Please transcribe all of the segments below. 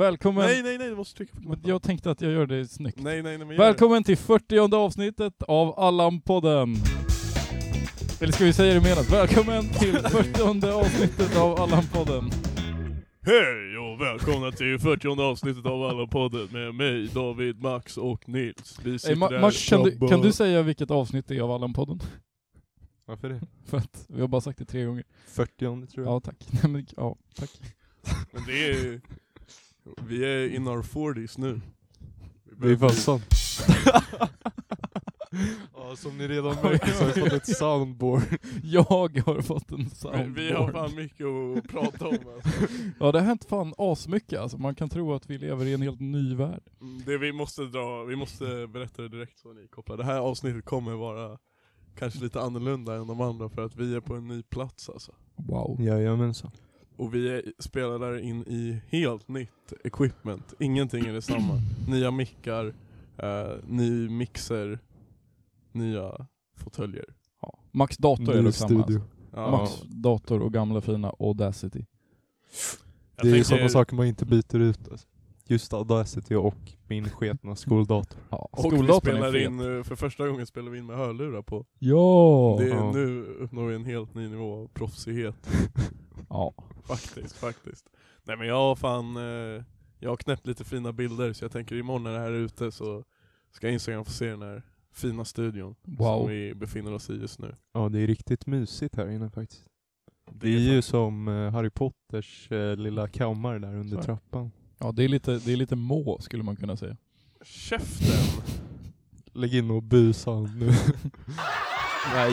Välkommen. Nej, nej, nej, du måste trycka på Men knappen. jag tänkte att jag gör det snyggt. Nej, nej, nej, men gör det. Välkommen till 40 avsnittet av Allan-podden. Eller ska vi säga det menat? Välkommen till 40 avsnittet av Allan-podden. Hej och välkomna till 40 avsnittet av alla podden med mig, David, Max och Nils. Vi sitter Hey, Ma- här Max, kan du, snabba. kan du säga vilket avsnitt det är av Allan-podden? Varför det? För att vi har bara sagt det tre gånger. 40 tror jag. Ja, tack. Nej, men, ja, tack. Men det är... Vi är in our 40s nu. det är fan sant. ja, som ni redan märker så har jag fått ett soundboard. Jag har fått en Vi, soundboard. vi har fan mycket att prata om alltså. Ja, det har hänt fan asmycket alltså. Man kan tro att vi lever i en helt ny värld. Mm, Det vi måste dra, vi måste berätta det direkt så ni kopplar. Det här avsnittet kommer vara kanske lite annorlunda än de andra för att vi är på en ny plats alltså. Wow. Jajamensan. Och vi är, spelar där in i helt nytt equipment. Ingenting är detsamma. Nya mickar, eh, ny mixer, nya fåtöljer. Ja. Max dator är Ny det samma. Alltså. Ja, Max dator och gamla fina Audacity. jag Det är ju tänker- sådana saker man inte byter ut. Alltså. Just Audacity och min sketna skoldator. Ja, Och vi skoldatorn är spelar fet. in, eh, för första gången spelar vi in med hörlurar på. Ja! det, ja. Nu uppnår vi en helt ny nivå av proffsighet. ja. Faktiskt, faktiskt. Nej men jag har fan, eh, jag har knäppt lite fina bilder så jag tänker imorgon när det här är ute så ska Instagram få se den här fina studion som Wow. vi befinner oss i just nu. Ja, det är riktigt mysigt här inne faktiskt. Det är ju som eh, Harry Potters eh, lilla kammare där under Så. trappan. Ja, det är, lite, det är lite må skulle man kunna säga. Käften! Lägg in och busa nu. Nej!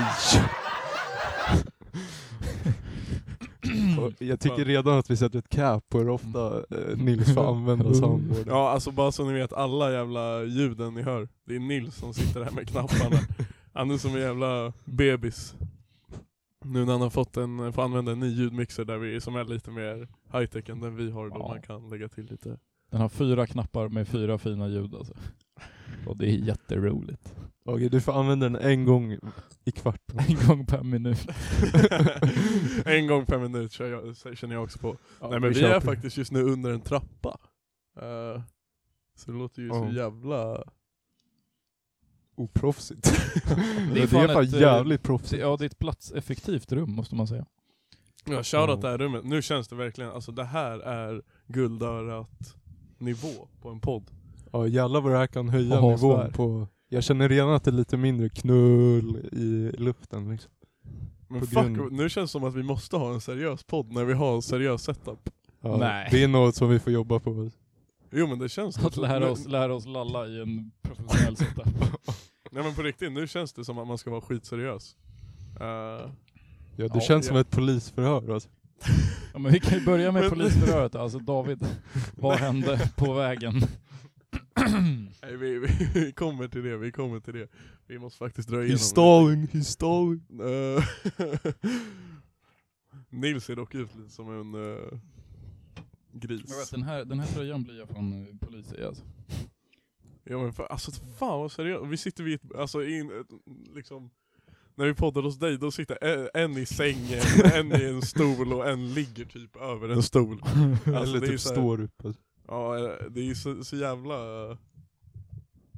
Och Jag tycker redan att vi sätter ett cap på hur ofta eh, Nils får använda soundboarden. Ja alltså bara så ni vet, alla jävla ljuden ni hör, det är Nils som sitter här med knapparna. Han är som en jävla bebis. Nu när han har fått en, får använda en ny ljudmixer där vi, som är lite mer high-tech än den vi har, då Ja. man kan lägga till lite. Den har fyra knappar med fyra fina ljud alltså. Och det är jätteroligt. Okej, du får använda den en gång i kvarten. En gång per minut. en gång per minut kör jag- känner jag också på. Ja, Nej men vi, kör är på. faktiskt just nu under en trappa. Eh, så det låter ju så Ja. jävla... oproffsigt. det är fan fan, ett, eh, jävligt Det, proffsigt. ja, det är ett platseffektivt rum måste man säga. Jag kör att det här rummet, nu känns det verkligen, alltså det här är guldörat nivå på en podd. Ja jävlar vad det här kan höja Jaha, så här. nivån på... Jag känner redan att det är lite mindre knull i luften liksom. Men På fuck, grund- nu känns det som att vi måste ha en seriös podd när vi har en seriös setup. Ja, Nej. Det är något som vi får jobba på. Jo men det känns Att lära oss, lära oss lalla i en professionell setup. Nej men på riktigt, nu känns det som att man ska vara skitseriös. Eh, Ja, det Ja, känns ja. som ett polisförhör alltså. Ja, men vi kan ju börja med Men- polisförhöret. Alltså David, vad hände på vägen? nej, vi, vi, vi kommer till det, vi kommer till det. Vi måste faktiskt dra igenom He's stalling, he's stalling. det. Eh, Nils ser dock ut lite som en eh, Jag vet, gris. den, här, den här tröjan blir jag från eh, polis i alltså. Ja men fan, alltså fan vad seriöst. Vi sitter vid ett, alltså in, ett- liksom när vi poddar hos dig, då sitter en- en i sängen, en i en stol och en ligger typ över en stol. Alltså, Eller det är typ så här- står upp. Alltså. Ja, eh, det är ju så, så jävla eh,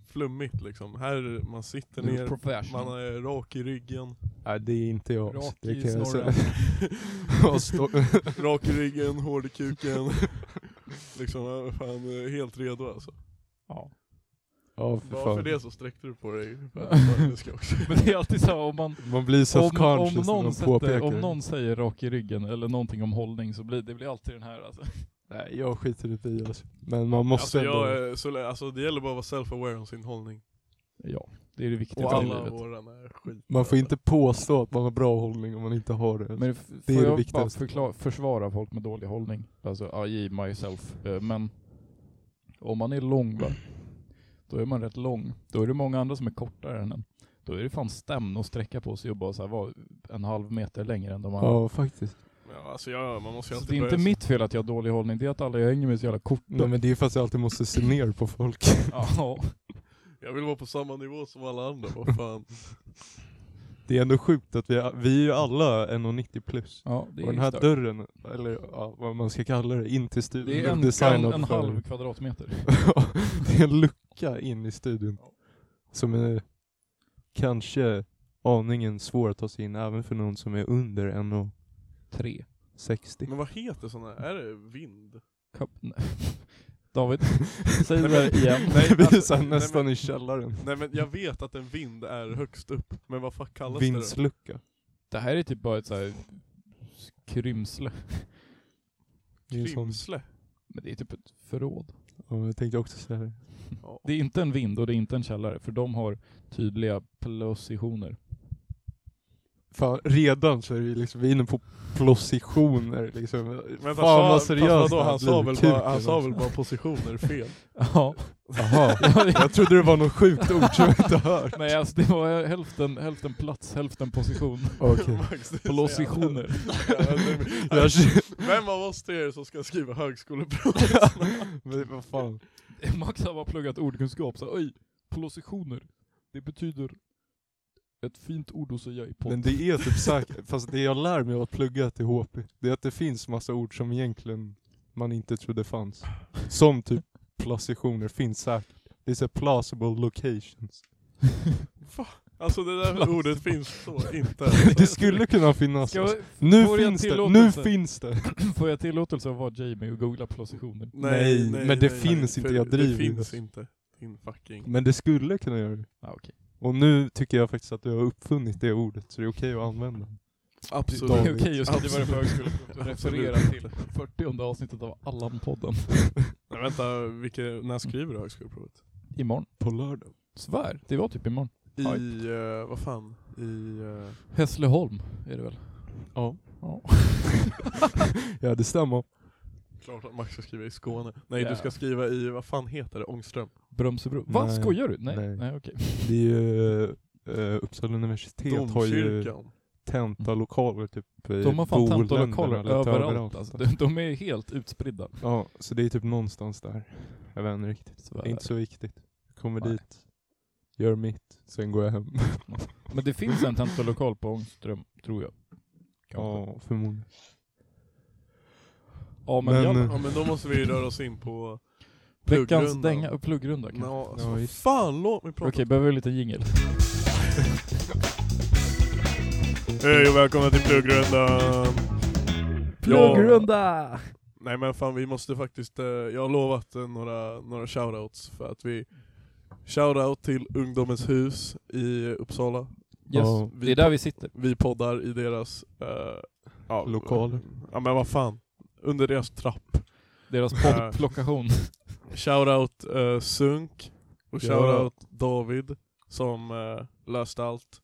flummigt liksom. Här man sitter Du är ner, professional. man är rak i ryggen. Nej det är inte jag. Rak det i kan jag snorren. säga. Ja, stå- Rak i ryggen, hård i kuken. liksom, eh, fan eh, helt redo alltså. Ja. ja för Bara för fan. det så sträckte du på dig. För att- det ska jag också. Men det är alltid så här, om man Man blir om, om, self-conscious när någon man sätter, påpekar om det. någon säger rak i ryggen eller någonting om hållning så blir det blir alltid den här alltså. Nej jag skiter i det alltså. Men man måste Alltså, ändå. jag, är så, lä- alltså det gäller bara att vara self-aware om sin hållning. Typ. Ja, det är det viktiga Och i alla livet. våran är skit. Man får inte påstå att man har bra hållning om man inte har det. Men f- får det är det jag bara viktigaste. förklara, försvara folk med dålig hållning? Alltså, I myself. Eh, Men om man är lång va? Då är man rätt lång. Då är det många andra som är kortare än en. Då är det fan stämn att sträcka på sig och bara så här, vara en halv meter längre än de andra. ja faktiskt. Ja, alltså jag, man måste ju Så alltid det är inte börja- mitt fel att jag har dålig hållning, det är att alla jag hänger med är så jävla korta. Nej men det är för att jag alltid måste se ner på folk. Ja. Jag vill vara på samma nivå som alla andra, vad fan. Det är ändå sjukt att vi, är- vi är ju alla 1,90 plus. Ja, det är Och den här stört. dörren, eller ja, vad man ska kalla det, in till studion. Det är en, en, designad en för- halv kvadratmeter. det är en lucka in i studion. Som är kanske aningen svår att ta sig in även för någon som är under 1,60. Tre. Men vad heter sådana? Är det vind? Kap- nej. David, säg det där igen. Nej, vi är alltså, så här nej, nästan men- i källaren. Nej men jag vet att en vind är högst upp, men vad fuck kallas det Vindslucka. Det här är typ bara ett så här krymsle. Det är då? en sån, Krymsle? Men det är typ ett förråd. ja, jag tänkte också säga det. Ja. Det är inte en vind och det är inte en källare, för de har tydliga positioner. Fan, redan så är vi liksom vi är inne på positioner liksom. Men Fan vad fast seriöst vadå, det här han, sa blir. alltså. väl Kuk bara, han eller sa något väl bara positioner fel? Ja. Jaha, liksom. jag trodde det var något sjukt ord som jag inte hört. Nej, alltså det var hälften, hälften plats, hälften position. Okej. Max, det är så jävla- Positioner. jävla dumt. Jag Vem av oss tre är det som ska skriva högskoleprov? Men vad fan. Max har bara pluggat ordkunskap, så oj, positioner, det betyder ett fint ord att säga i podden. Men det är typ säkert, fast det jag lär mig av att plugga till HP, det är att det finns massa ord som egentligen man inte trodde fanns. Som typ placitioner finns säkert. Det är så här plausible locations. Alltså det där ordet finns så inte. Det skulle kunna finnas. Ska jag, Nu Får jag finns det, nu tillåtelse? finns det. får jag tillåtelse att vara Jamie och googla positioner? Nej, men det finns inte, för jag driver Mm. Det finns ju. inte. Din fucking... Men det skulle kunna göra det. Ja, Ah, okej. Och nu tycker jag faktiskt att du har uppfunnit det ordet, så det är okej att använda. Det David. är okej att skriva det på Absolut. högskoleprovet och referera till 40 avsnittet av Allan-podden. Nej, vänta, vilken, när skriver du högskoleprovet? Imorgon. På lördag. Svär, det var typ imorgon. I, Ja. eh, vad fan? I... eh, Hässleholm är det väl? Ja. Ja. Ja det stämmer. klart att Max ska skriva i Skåne. Nej Ja. du ska skriva i, vad fan heter det? Ångström? Brömsebro. Va? Nej. Skojar du? Nej, nej, Nej. okej. Det är ju, eh, Uppsala universitet har ju Domkyrkan. tentalokaler typ i De har fan Boländerna tentalokaler eller överallt. Alltså. De, de är helt utspridda. Ja, så det är typ någonstans där. Jag vet inte riktigt. Det är Svär. inte så viktigt. Jag kommer Nej. dit, gör mitt, sen går jag hem. Men det finns en tentalokal på Ångström, tror jag. Kanske. Ja, förmodligen. Ja, men, Men, jävlar. eh, Ja men då måste vi röra oss in på... veckans pluggrunda. dänga och pluggrunda kanske. Nå, alltså, Ja, vad visst. fan låt mig prata. Okej, behöver vi lite jingel? Hej och välkomna till Pluggrundan! Pluggrunda! Nej men fan vi måste faktiskt, eh, jag har lovat eh, några, några shoutouts för att vi Shoutout till Ungdomens hus i Uppsala. Yes, Ja. Mm. det är där vi sitter. Vi poddar i deras... Eh, ja, Lokaler. Ja men vad fan. Under deras trapp. Deras Ja. poddplockation. Shoutout eh, Sunk. Och Ja. shoutout David som eh, löste allt.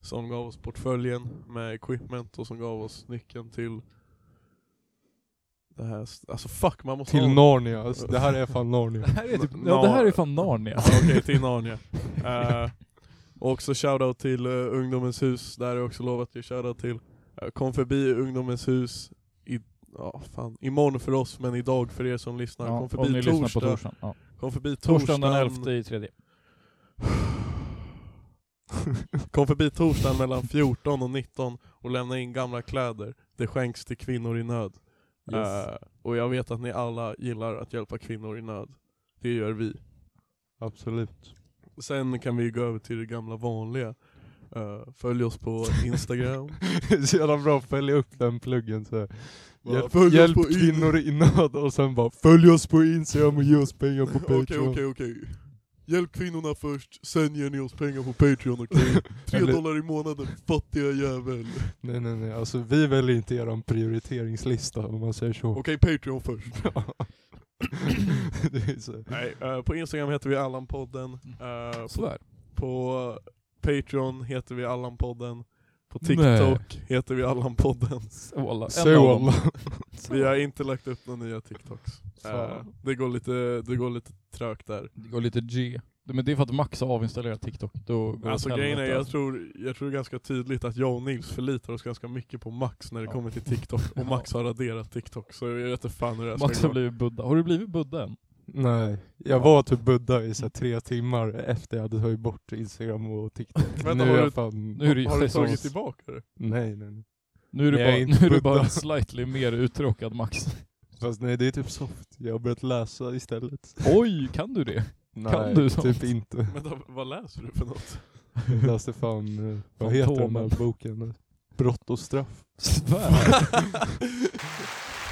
Som gav oss portföljen med equipment och som gav oss nyckeln till det här, st- alltså fuck man måste ha Till Narnia, alltså, det här är fan Narnia. Det här är, typ, Nå- ja, det här är fan Narnia. Ja, Okej, till Narnia. Eh, och också shoutout till eh, Ungdomens hus, där har jag också lovat att shoutout till. Eh, kom förbi Ungdomens hus i, ja fan, imorgon för oss men idag för er som lyssnar. Ja, kom om ni förbi lyssnar torsdag. på torsdagen. Ja. Kom förbi Torsdagen torsdagen. den 11 i tredje. Kom förbi torsdagen mellan 14 och 19 och lämna in gamla kläder. Det skänks till kvinnor i nöd. Eh, och jag vet att ni alla gillar att hjälpa kvinnor i nöd. Det gör vi. Absolut. Sen kan vi gå över till det gamla vanliga. Eh, följ oss på Instagram. Så jävla bra, följa upp den pluggen så här. Bara, Hjälp, "Följ oss hjälp på in-" kvinnor i nöd och sen bara följ oss på Instagram och ge oss pengar på Patreon. Okej, okej, okej. Hjälp kvinnorna först, sen ger ni oss pengar på Patreon, okej? Tre Eller- dollar i månaden, fattiga jävel. Nej nej nej, alltså vi väljer inte eran prioriteringslista om man säger så. Okej, Patreon först. det är så. Nej, eh, på Instagram heter vi Allanpodden. Eh, på, Svär. på Patreon heter vi Allanpodden. På Nej. TikTok heter vi Allanpodden. Såla. En av Så dem. alla. Vi har inte lagt upp några nya TikToks. Fan. Eh, det, går lite, det går lite trögt där. Det går lite G. Men det är för att Max har avinstallerat TikTok. Då går det Alltså åt grejen är, helvete. jag tror, jag tror det är ganska tydligt att jag och Nils förlitar oss ganska mycket på Max när det Ja. kommer till TikTok. Och Max har raderat TikTok, så jag vet inte fan hur det här Max ska har gå. blivit Buddha. Har du blivit Buddha än? Nej, jag var typ Buddha i så här tre timmar efter jag hade tagit bort Instagram och TikTok. Vänta, har nu är du- jag fan... Nu är det, Har du säsongs- tagit typ- tillbaka det? Nej, nej, nej. nu är det Nej, jag bara, är nu inte är det bara Buddha. en slightly mer uttråkad Max. Fast nej, det är typ soft. Jag har börjat läsa istället. Oj, kan du det? Nej, du soft? typ inte. Vänta, vad läser du för något? Jag läste fan, eh, vad heter den Fantomen. här boken? Brott och straff. Svär.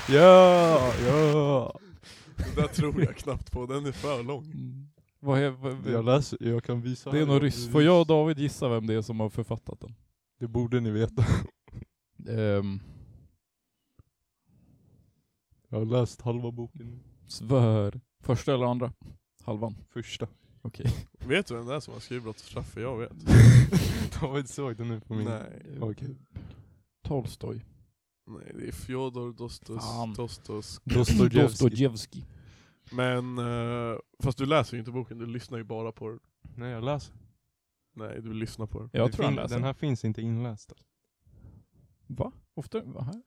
Ja, ja! Det där tror jag knappt på, den är för lång. Mm. Vad är, vad, Jag läser, jag kan visa. det är här. någon ryss. Får jag och David gissa vem det är som har författat den? Det borde ni veta. Ehm, Jag har läst halva boken. svär. Första eller andra? Halvan. Första. Okej. Vet du vem det är som har skrivit brott och straff? För jag vet. David såg det nu på min... Nej. Okej. Tolstoj. Nej, det är Fjodor Dostos, Fan. Dostos. Dostojevskij. Dostojevskij. Men, eh, fast du läser ju inte boken, du lyssnar ju bara på den. Nej, jag läser. Nej, du lyssnar på den. Jag Det tror han fin- läser. Den här finns inte inläst. Va? Ofta? Va? Här?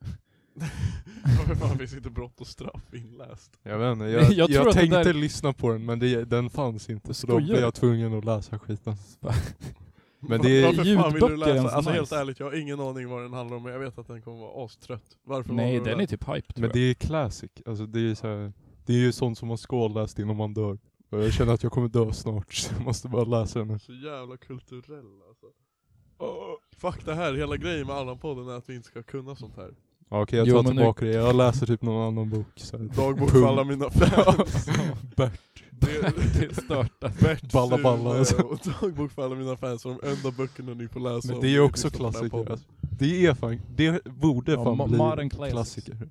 Varför fan finns inte brott och straff inläst? Jag vet inte, Jag jag, tror jag, att det tänkte där- lyssna på den men det, den fanns inte så då Skojar blev du? jag tvungen att läsa skiten. Va? Men det är- Varför fan vill Ljudböcker du är läsa? ens Alltså helt nice. ärligt, jag har ingen aning vad den handlar om, men jag vet att den kommer vara astrött. Varför Nej, valde du den är typ hype tror Men det är classic, alltså det är så här, det är ju sånt som man ska ha läst innan man dör. Och jag känner att jag kommer dö snart så jag måste bara läsa den. nu. Så jävla kulturell alltså. Åh, fuck det här, hela grejen med Allan-podden är att vi inte ska kunna sånt här. Ja, Okej jag Jo, tar men nu- tillbaka det, jag läser typ någon annan bok. Så här. Dagbok för alla mina fans. Bert. Det- jag. det är stört. Bert Balla, Sune balla, alltså. och Dagbok för alla mina fans, är de enda böckerna ni får läsa Men om det är ni ju också lyssnar på den här klassiker. podden. Alltså. Det är fan, det borde Ja, fan mo- bli modern classics. klassiker.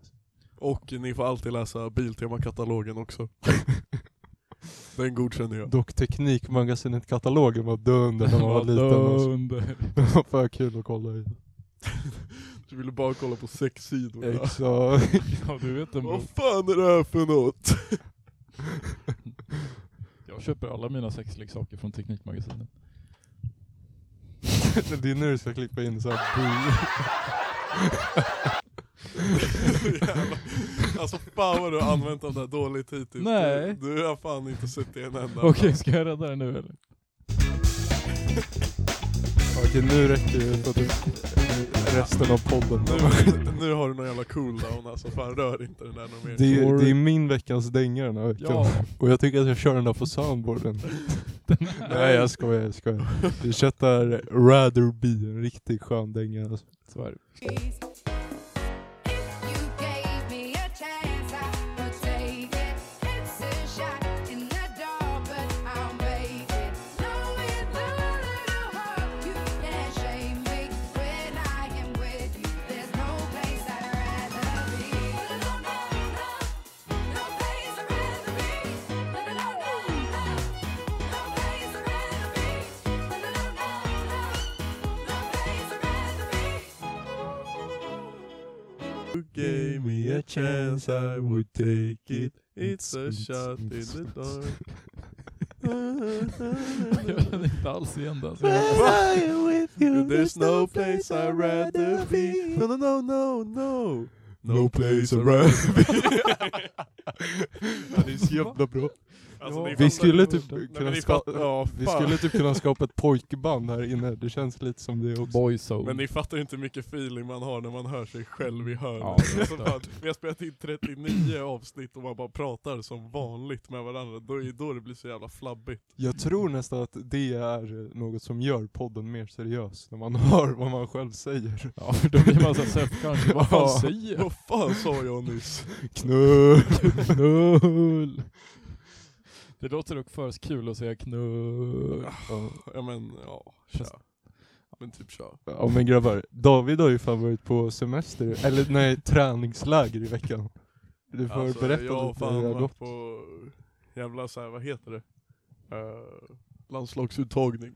Och ni får alltid läsa Biltema-katalogen också. Den godkänner jag. Dock Teknikmagasinet katalogen var dunder när man var liten. Alltså. Dunder. Det var för kul att kolla i. Du ville bara kolla på sex sidor. Exakt. Ja, du vet en Vad bok. fan är det här för något? Jag köper alla mina sexleksaker från Teknikmagasinet. Det är nu du ska klippa in så här bu. Jävlar. alltså fan vad du har använt av det här dåligt hittills. Nej. Du, du har fan inte sett det en enda. Okej, ska jag rädda det nu eller? Okej nu räcker det för att du- resten av podden. Nu, nu har du någon jävla cooldown alltså. Fan rör inte den där någon mer. Det är, det är min veckans dänga den här veckan. Ja. Och jag tycker att jag kör den där på soundboarden. Nej jag skojar, jag skojar. Vi köttar Rather Be, en riktigt skön dänga. Alltså. Så är det. If you gave me a chance, I would take it. It's a shot in the dark, but I'll make it. Knowing that I'll hurt you and shame me when I am with you. There's no place I'd rather be. No, no, no, no place I'd rather be. No, no, no, no, no place I'd rather be. No, no, no, no, no place I'd rather be. You gave me a chance I would take it It's a shot in the dark Jag känner inte alls igen det. Alltså. There's no place I'd rather be No, no, no, no, no No place I'd rather be Ja, det är så jävla bra. Alltså, ni Vi fattar skulle ju- typ Nej, men kunna ni skapa, fattar- ja, vi fan. skulle typ kunna skapa ett pojkband här inne, det känns lite som det också. Boyzone. Men ni fattar ju inte hur mycket feeling man har när man hör sig själv i hörnet. Ja, det är alltså, klart. fan, vi har spelat in 39 avsnitt och man bara pratar som vanligt med varandra. Då är då det blir så jävla flabbigt. Jag tror nästan att det är något som gör podden mer seriös, när man hör vad man själv säger. Ja, för då blir man så här kanske. Vad fan Ja. säger jag? Vad fan sa jag nyss? Knull! Knull. Det låter dock för kul att säga knull. Ja men ja, kör. Men typ kör. Ja men grabbar, David har ju fan varit på semester, eller nej träningsläger i veckan. Du får Alltså, berätta jag har lite hur fan det har varit gått. på jävla så här, vad heter det? Eh, landslagsuttagning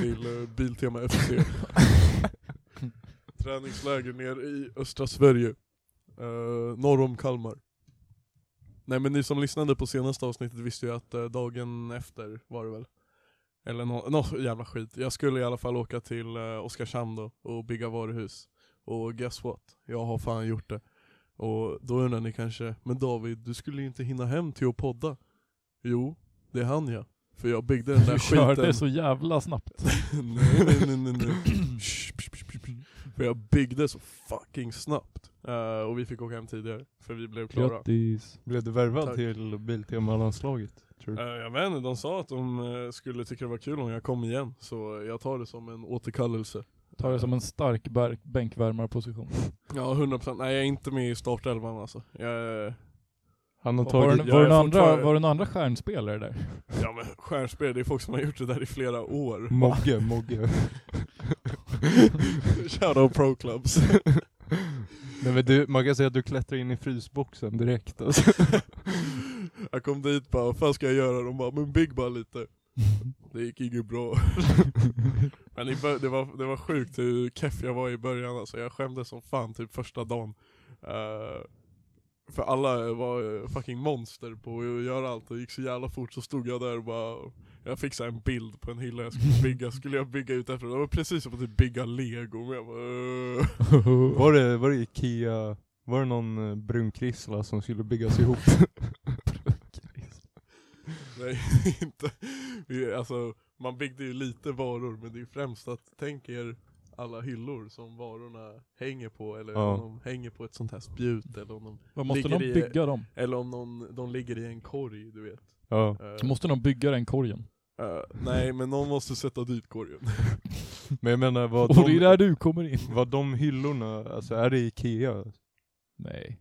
till eh, Biltema FC. Träningsläger nere i östra Sverige. Eh, norr om Kalmar. Nej men ni som lyssnade på senaste avsnittet visste ju att eh, dagen efter var det väl. Eller något nå jävla skit. Jag skulle i alla fall åka till eh, Oskarshamn då och bygga varuhus. Och guess what? Jag har fan gjort det. Och då undrar ni kanske, men David, du skulle ju inte hinna hem till att podda. Jo, det är han ja. För jag byggde den där Du körde skiten. så jävla snabbt. nej, nej, nej, nej, nej. Shh, psh, psh, psh, psh. För jag byggde så fucking snabbt. Eh, och vi fick åka hem tidigare, för vi blev klara. Grattis. Blev du värvad Tack. till Biltema-landslaget? Tror Eh, du? jag vet inte, de sa att de eh, skulle tycka det var kul om jag kom igen, så jag tar det som en återkallelse. Tar det som en stark bär- bänkvärmarposition. Ja, 100%. Nej, jag är inte med i startelvan alltså. Jag, Han har Vad Var, tagit... den, jag var, är den andra, fortfarande- var den andra stjärnspelare där? ja men stjärnspel, det är folk som har gjort det där i flera år. Mogge, Mogge. Shadow Pro Clubs. Nej, men du, man kan säga att du klättrar in i frysboxen direkt alltså. jag kom dit bara, vad fan ska jag göra? De bara, men bygg bara lite. Det gick inget bra. men i bör- det, var, det var sjukt hur keff jag var i början alltså. Jag skämdes som fan typ första dagen. Eh, för alla var eh, fucking monster på att göra allt. Det gick så jävla fort så stod jag där och bara jag fixade en bild på en hylla jag skulle bygga, skulle jag bygga ut efter det? var precis som att typ bygga lego, men jag bara, "Åh." Var det, var det Ikea, var det någon eh, brunkrissla som skulle byggas ihop? Nej, inte. Vi, alltså, man byggde ju lite varor, men det är ju främst att tänk er alla hyllor som varorna hänger på, eller Ja. om de hänger på ett sånt här spjut, eller om de, Vad måste Ligger någon i- bygga dem? eller om någon, de ligger i en korg, du vet. Ja. Eh, Så måste någon bygga den korgen. eh, nej, men någon måste sätta dit korgen. Men jag menar vad Och det är de, där du kommer in. vad de hyllorna, alltså är det Ikea? Nej.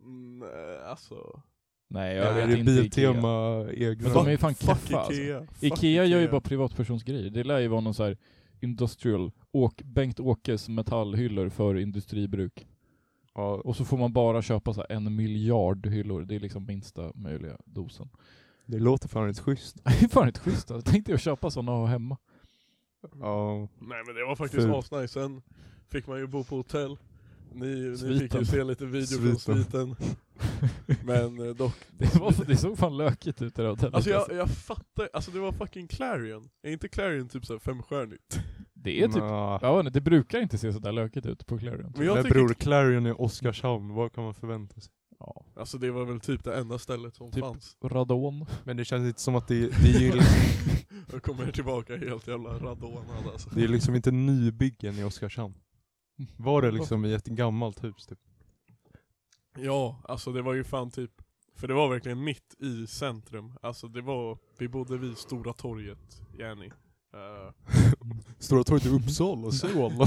Mm, eh, alltså... Nej, Eller jag är vet det inte Ikea. Biltema egna? Men de är ju fan Fuck keffa alltså. Ikea. Fuck Ikea gör ju bara privatpersonsgrejer. Det lär ju vara någon så här industrial, Åk, Bengt-Åkes metallhyllor för industribruk. Ja, Och så får man bara köpa så här en miljard hyllor. Det är liksom minsta möjliga dosen. det låter fan rätt schysst. Det är fan inte schysst alltså. Tänkte jag köpa sådana och ha hemma. Ja. Nej men det var faktiskt Fult. asnice, sen fick man ju bo på hotell Ni, ni fick Sviten. ju se lite video från Sviten. sviten Men eh, dock Det, var, det såg fan lökigt ut det där hotellet. Alltså jag, jag fattar, alltså det var fucking Clarion Är inte Clarion typ såhär femstjärnigt? Det är typ... Nja. Jag vet inte, det brukar inte se sådär lökigt ut på Clarion. Mm. Men jag ah, Men tycker, bror, Clarion är Oskarshamn, vad kan man förvänta sig? Ja. alltså det var väl typ det enda stället som Typ. fanns Radon. Men det känns inte som att det, det, är, ju- liksom- Jag kommer tillbaka helt jävla radonad alltså det är liksom inte nybyggen i Oskarshamn. Var det liksom i ett gammalt hus typ? Ja, alltså det var ju fan typ För det var verkligen mitt i centrum Alltså det var, vi bodde vid Stora torget, Jenny Eh, Stora torget i Uppsala, Solna.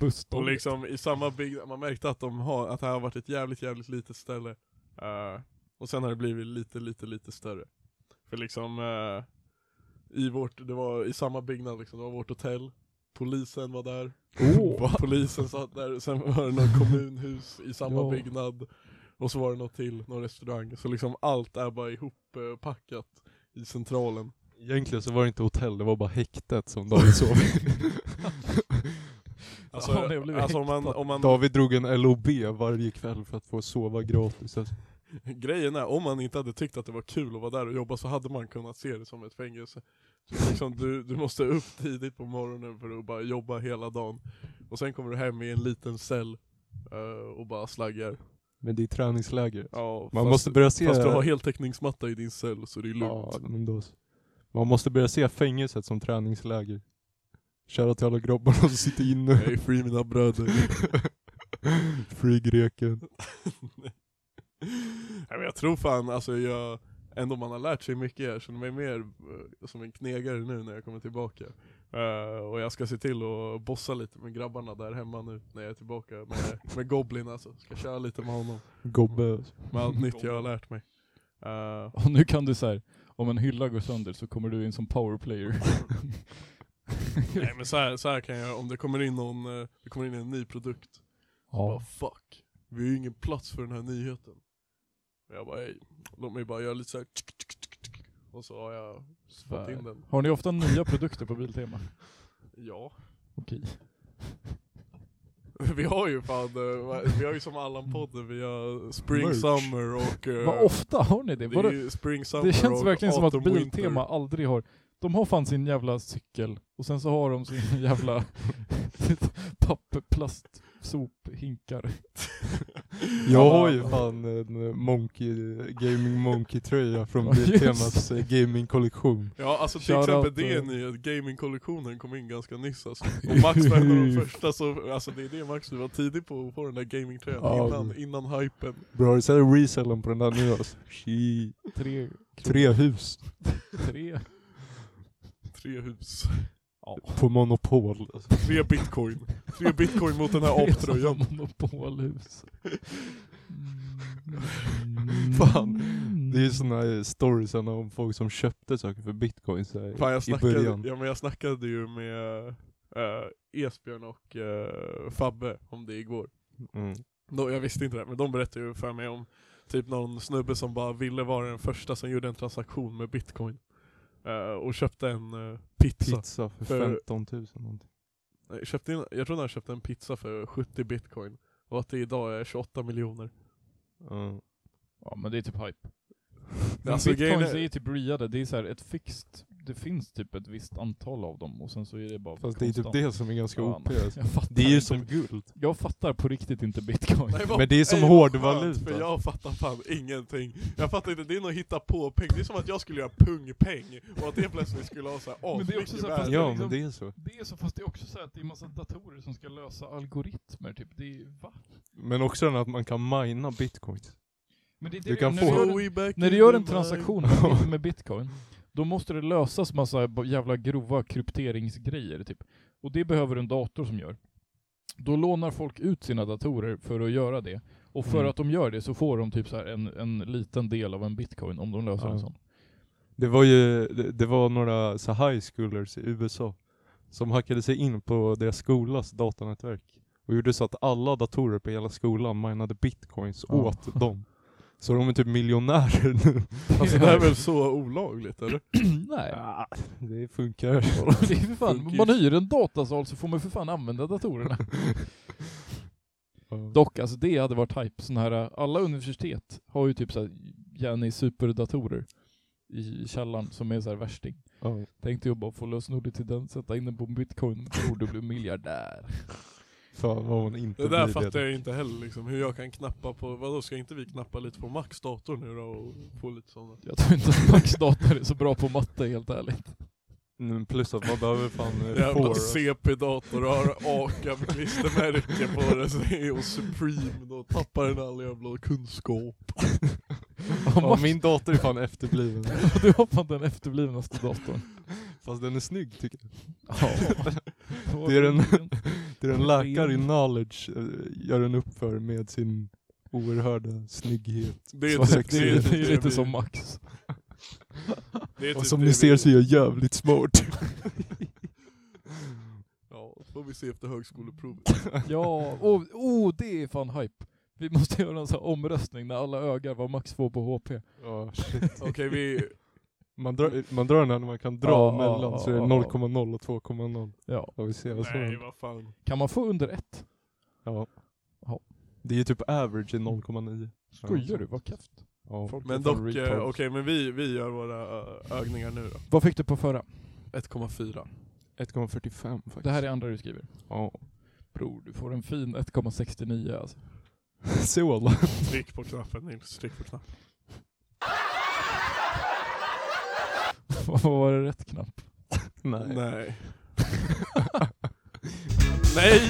Busstorget. Och liksom i samma byggnad, man märkte att, de har, att det här har varit ett jävligt jävligt litet ställe. Eh, och sen har det blivit lite, lite, lite större. För liksom eh, i vårt, det var i samma byggnad liksom, det var vårt hotell, polisen var där, Åh. polisen satt där, sen var det något kommunhus i samma Ja. byggnad. Och så var det något till, någon restaurang. Så liksom allt är bara ihoppackat i centralen. Egentligen så var det inte hotell, det var bara häktet som David sov i. Alltså, Ja, det blev alltså om man, häktat. om man David drog en LOB varje kväll för att få sova gratis. Alltså. Grejen är, om man inte hade tyckt att det var kul att vara där och jobba så hade man kunnat se det som ett fängelse. Så liksom, du, du måste upp tidigt på morgonen för att bara jobba hela dagen. Och sen kommer du hem i en liten cell eh, och bara slaggar. Men det är träningsläger. Ja, Man fast, måste börja se... fast du har heltäckningsmatta i din cell så det är lugnt. ja, men då... så. Man måste börja se fängelset som träningsläger. Kära till alla grabbarna som sitter inne. Jag är free mina bröder. Free greken. Nej, men jag tror fan, alltså jag, ändå man har lärt sig mycket, jag känner mig mer eh, som en knegare nu när jag kommer tillbaka. Eh, och jag ska se till att bossa lite med grabbarna där hemma nu när jag är tillbaka med, med Goblin alltså. Ska köra lite med honom, Gobbe. med allt nytt jag har lärt mig. Eh, Och nu kan du så här, om en hylla går sönder så kommer du in som powerplayer. nej men så här, så här kan jag, om det kommer in någon, eh, det kommer in en ny produkt, bara ja. fuck, vi har ju ingen plats för den här nyheten. Och jag bara hej, låt mig bara göra lite såhär och så har jag fått in Svär. den. Har ni ofta nya produkter på Biltema? Ja. Okej. Vi har ju fan, eh, vi har ju som Allan-podden, vi har Spring Merch. Summer och... eh, Vad ofta har ni det? det, är Både, ju spring, summer det känns och verkligen som att autumn, winter. Biltema aldrig har... De har fan sin jävla cykel och sen så har de sin jävla papperplast sophinkar. Jag har ju fan en eh, monkey, Gaming Monkey-tröja från Ja, just Biltemas eh, gaming-kollektion. Ja alltså till Shout exempel out eh. det är till- en nyhet, gamingkollektionen kom in ganska nyss alltså. Och Max var en av de första som, alltså det är det Max du var tidig på, på den där gamingtröjan Ja. innan, innan hypen. Bra, det är resellen på den där nu alltså. Shit. Tre, Tre hus tre. Tre hus, på Monopol. Alltså. tre bitcoin. Tre bitcoin mot den här Tre aptröjan. sådana Monopolhus. Fan, Det Mm. är ju såna stories om folk som köpte saker för bitcoin så här, Fan jag i snackade, början. ja, men jag snackade ju med eh, Esbjörn och eh, Fabbe om det igår. Mm. De, jag visste inte det, här, men de berättade ju för mig om typ någon snubbe som bara ville vara den första som gjorde en transaktion med bitcoin. Eh, och köpte en eh, pizza. Pizza för För- 15 000 någonting. Nej, Köpte in, jag tror han köpte en pizza för 70 bitcoin. Och att det idag är 28 miljoner. Ja. Ja men det är typ hype. Men Men alltså, grejen bitcoins är- är ju typ reade, det är så här ett fixt, det finns typ ett visst antal av dem och sen så är det bara Fast det är typ konstant. det som är ganska Fan, OP. Alltså. Jag fattar, Det är ju inte. som guld. jag fattar på riktigt inte bitcoin. Nej, vad- Men det är som nej, vad hårdvaluta. skönt, För jag fattar fan ingenting. Jag fattar inte, det är något hitta på peng. Det är som att jag skulle göra pungpeng. Och att det plötsligt skulle ha såhär Men det är också asmycket så här, fast värde. det är Ja liksom- men det är så. Det är så, fast det är också så här att det är massa datorer som ska lösa algoritmer typ. Det är, va? Men också den att man kan mina bitcoins. Men det är det Du kan när få- du gör en- Way back När in du gör the en night. transaktion med, med bitcoin, då måste det lösas massa b- jävla grova krypteringsgrejer typ. Och det behöver en dator som gör. Då lånar folk ut sina datorer för att göra det. Och för Mm. att de gör det så får de typ så här en, en liten del av en bitcoin om de löser Ja. en sån. Det var ju, det, det var några så här high schoolers i USA som hackade sig in på deras skolas datanätverk och gjorde så att alla datorer på hela skolan minade bitcoins Ja. åt dem. Så de är typ miljonärer nu. Alltså det här är väl så olagligt eller? Nej. Ah, Det funkar. Det är för fan, man hyr en datasal så får man för fan använda datorerna. Dock, alltså det hade varit hype. Sån här, eh, alla universitet har ju typ såhär Jenny superdatorer i källaren som är såhär värsting. Ja. Tänkte jag bara få lösenordet till den, sätta in den på bitcoin, tror du blir miljardär. Fan vad man inte Det där blir fattar jag inte heller liksom, hur jag kan knappa på, vadå ska inte vi knappa lite på Max dator nu då och få lite sådana? Jag tror inte att Max dator är så bra på matte helt ärligt. Mm, Plus att man behöver fan eh, Jävla får. alltså. CP-dator har AKAM-klistermärke på den så är jag Supreme, då tappar den all jävla kunskap. Ja, Max, min dator är fan efterbliven. Du har fan den efterblivnaste datorn. Fast den är snygg tycker jag. Ja. Det är den- Det är en läkare i knowledge eh, gör den upp för med sin oerhörda snygghet. Det Så typ- sagt, det är, det är lite vi- som Max. det är Och typ som det ni vi- ser så är jag jävligt smart. Ja, får vi se efter högskoleprovet. Ja, och, oh det är fan hype. Vi måste göra en sån här omröstning när alla ögar vad Max får på HP. Ja, shit. Okej vi, man, drar, man drar den här när man kan dra Ja, mellan så är det ja, 0,0 och 2,0. Ja. Ja, vi ser vad som nej händer. vad fan. Kan man få under ett? ja. Ja. Det är ju typ average i 0,9. Skojar du? Vad kefft. Ja. Folk är Men fan dock, eh, okej retards. men vi, vi gör våra eh, övningar nu då. Vad fick du på förra? 1,4. 1,45 faktiskt. Det här är andra du skriver. Ja. Bror, du får en fin 1,69 alltså. Så. Tryck på knappen Nils, tryck på knappen. Vad var det rätt knapp? Nej. Nej. Nej!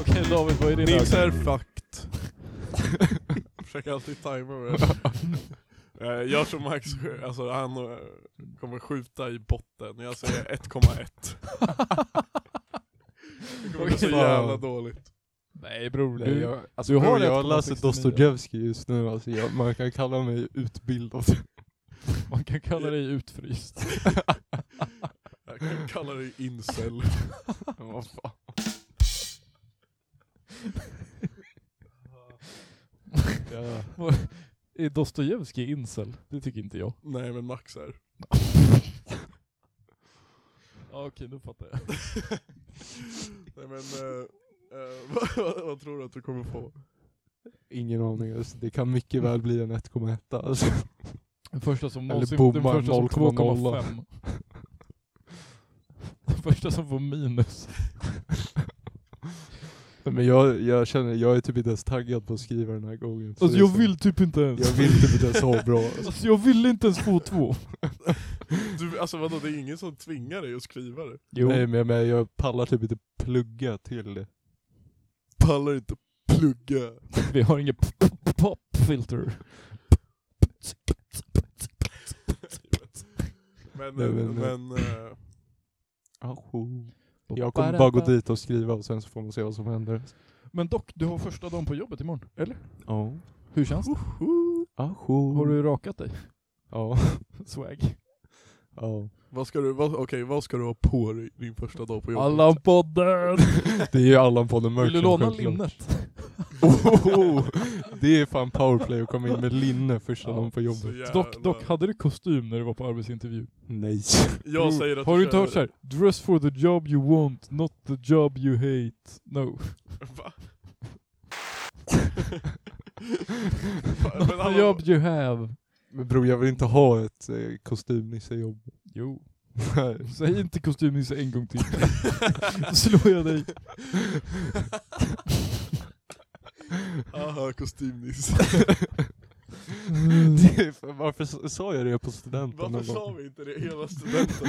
Okej David, vad är din Nils ögon? är fucked. Försöker alltid tajma med det. Eh, Jag tror Max, alltså han eh, kommer skjuta i botten. Jag säger 1,1. Det kommer bli så Okej. jävla dåligt. Nej bror, Nej, du... jag, alltså, du du har har rätt jag på läser 69. Dostojevskij just nu, alltså, jag, man kan kalla mig utbildad. Man kan kalla dig utfryst. Jag kan kalla dig incel. Ja, fan. ja. Är Dostojevskij incel? Det tycker inte jag. Nej men Max är. Ja okej, nu fattar jag. Nej men, eh, eh, vad, vad, vad tror du att du kommer få? Ingen aning, alltså, det kan mycket väl bli en 1,1 alltså. Den första som Eller någonsin... Den bommar första som 0,0. 2,5. Den första som får minus. Men jag, jag känner, jag är typ inte ens taggad på att skriva den här gången. Så Alltså det är jag så- vill typ inte ens. Jag vill typ inte ens ha bra. Alltså. Alltså jag vill inte ens få två. Du, alltså vadå, det är ingen som tvingar dig att skriva det? Jo. Nej men, men jag pallar typ inte plugga till det. Pallar inte plugga. Vi har inget p- p- popfilter. Men, Nej, men, men, men eh, Jag kommer bara gå dit och skriva och sen så får man se vad som händer. Men dock, du har första dagen på jobbet imorgon, eller? Ja. Hur känns det? Har Har du rakat dig? Ja. Swag. ja. vad ska du, vad, okej, vad ska du ha på dig din första dag på jobbet? Allan-podden! Det är ju Allan-podden merch. Vill du låna linnet? Oh, det är fan powerplay att komma in med linne första Ja, dagen på Så jobbet. jävla- Dock, dock, hade du kostym när du var på arbetsintervju? Nej. Jag säger Mm. att Har du du inte kör- hört såhär? Dress for the job you want, not the job you hate. No. Va? Fan, Not men the alla- job you have. Men bror jag vill inte ha ett eh, kostymnissejobb. Jo. Nej. Säg inte kostymnisse en gång till. Då slår jag dig. Aha, kostymnisse. Det är för- Varför s- sa jag det på studenten Varför någon sa gång? vi inte det hela studenten?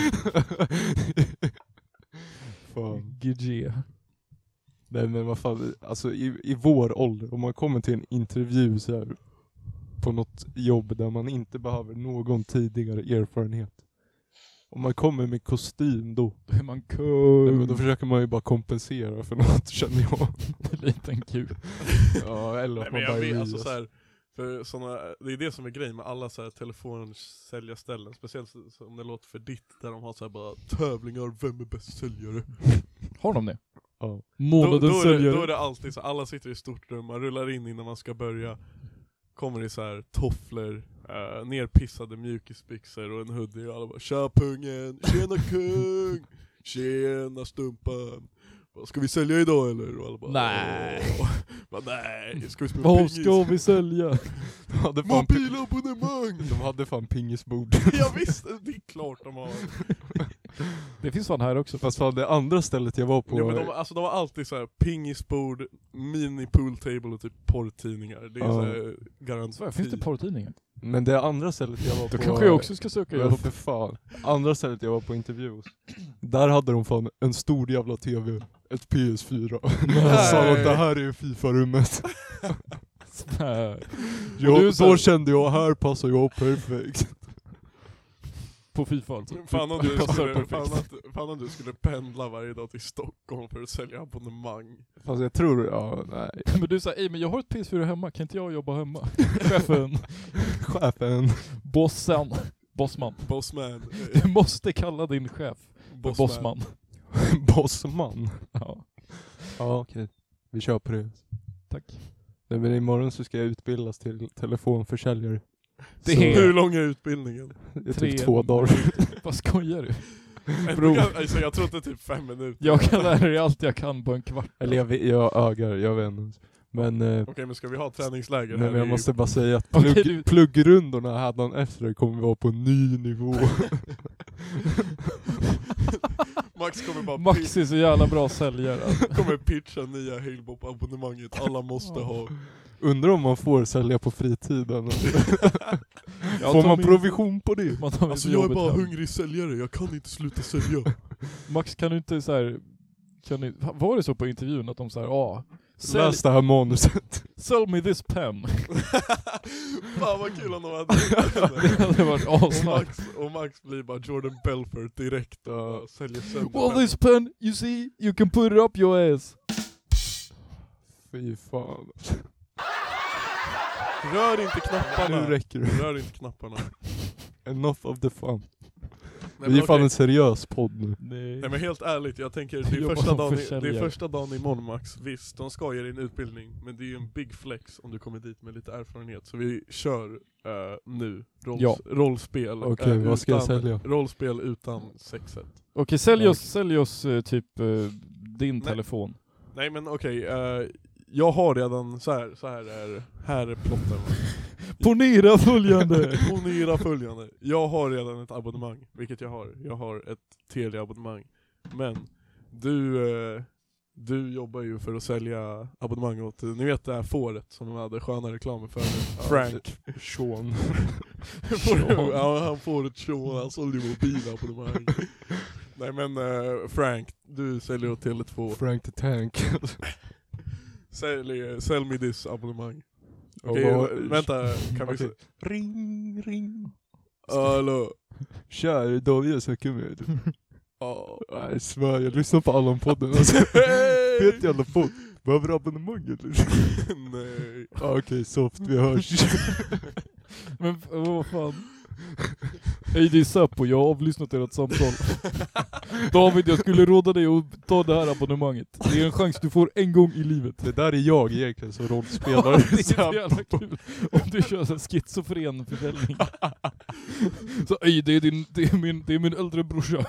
Fan. GG. Nej men vad fan, alltså i, i vår ålder, om man kommer till en intervju så här, på något jobb där man inte behöver någon tidigare erfarenhet. Om man kommer med kostym då, Då är man nej, men då kung. försöker man ju bara kompensera för något känner jag. Liten kuk. ja, eller Nej, att men man jag bara vet, är alltså, alltså, så här, för såna, det är det som är grejen med alla så här telefonsäljarställen, speciellt så- som det låter för ditt, där de har så här bara tävlingar, vem är bäst säljare? Har de det? Ja. Då, Månadens då, är det, då säljare. är det alltid så, alla sitter i stort rum, man rullar in innan man ska börja, kommer i så här tofflor, eh, nerpissade mjukisbyxor och en hoodie och alla bara 'Tja pungen, tjena kung, tjena stumpan' Bara, Ska vi sälja idag eller? Och alla bara, Nej. "Åh." Bara, Nej, ska vi spela Vad pingis? ska vi sälja? De hade fan, Mobilabonnemang! de hade fan pingisbord. Jag visste, det är klart de har. Det finns fan här också. Fast fan det andra stället jag var på, Jo, men de, alltså, de har alltid så här pingisbord, mini pooltable och typ porrtidningar. Det är Ja. så här garanti. Finns det porrtidningar? men det andra stället jag var Då på. kanske jag också ska söka Ja jobb. för fan. Andra stället jag var på intervju hos, där hade de fan en stor jävla tv, ett PS4. Jag sa att det här är ju Fifa-rummet. Nej. Jag, du är så här- då kände jag, här passar jag perfekt. På Fifa alltså. Fan om, du Passar skulle, perfekt. fan, att, fan om du skulle pendla varje dag till Stockholm för att sälja abonnemang. Fast jag tror, ja nej. Men du sa, ej men jag har ett PS4 hemma, kan inte jag jobba hemma? Chefen, Chefen. bossen, bossman. Bossman. eh, Du måste kalla din chef för bossman. Bossman. Ja, Ja okej. Vi kör på det. tack. Nej men imorgon så ska jag utbildas till telefonförsäljare. Det Så- är- Hur lång är utbildningen? Det är Tre- typ två dagar. Vad skojar du? Bro. Alltså, jag trodde typ fem minuter. Jag kan lära dig allt jag kan på en kvart. Eller jag, vet- jag ögar, jag vet inte. Men eh, Okej men ska vi ha träningsläger? här? Nej, men Det är jag ju- måste bara säga att Okej, plugg, du- pluggrundorna härdan efter kommer vara på en ny nivå. Max kommer bara Max är så jävla bra säljare. alltså. kommer pitcha nya Halebop-abonnemanget, alla måste ha. Undrar om man får sälja på fritiden. Jag får tar man Alltså, min- provision på det? Man tar min Alltså till jag är jobbet bara hem. hungrig säljare, jag kan inte sluta sälja. Max kan du inte så här, kan ni, var det så på intervjun att de såhär, ah, sälj, Läs det här manuset. sell me this pen. Fan vad kul om de hade Det hade varit och asnice. Max, och Max blir bara Jordan Belfort direkt och säljer sönder Well pennan. this pen, you see, you can put it up your ass. Fy fan. Rör inte Nu knapparna! räcker det. Rör inte knapparna. Enough of the fun. Nej, Vi men är fan okej. en seriös podd nu. Nej. Nej men helt ärligt, jag tänker det är, Jobbar första som dagen, i- det är försäljare. första dagen imorgon Max, visst de ska ge dig en utbildning, men det är ju en big flex om du kommer dit med lite erfarenhet. Så vi kör eh, nu, Rolls, Ja. rollspel. Okej, eh, vad ska jag utan- sälja? Rollspel utan sexet. Okej, sälj Ja. oss, sälj oss eh, typ eh, din Nej. telefon. Nej men okej, eh, jag har redan, så här, så här är, här är plotten. Ponera följande! Ponera följande. Jag har redan ett abonnemang, vilket jag har. Jag har ett Telia-abonnemang. Men du, eh, du jobbar ju för att sälja abonnemang åt, eh, ni vet det här fåret som de hade sköna reklamer för nu? Frank. Sean. Sean. ja, han får ett Sean, han sålde ju mobilabonnemang. Nej men eh, Frank, du säljer åt Tele2. Frank the Tank. Sälj, sälj mig ditt abonnemang. Och Okej, vad- vänta, kan vi... Okej. Ring, ring. Hallå? Tja, är det Daniel jag snackar med? Ja. Jag svär, jag lyssnar på Allan-podden. Alltså, vet jag alla podd? Behöver du abonnemang eller? Nej. Ah, Okej, soft, vi hörs. Men f- vad fan. Hej det är Säpo, jag har avlyssnat ert samtal. David, jag skulle råda dig att ta det här abonnemanget. Det är en chans du får en gång i livet. Det där är jag egentligen som Ja, rollspelare. det är så jävla kul om du kör sån schizofren försäljning. Så ej, det är, din, det, är min, det är min äldre brorsa.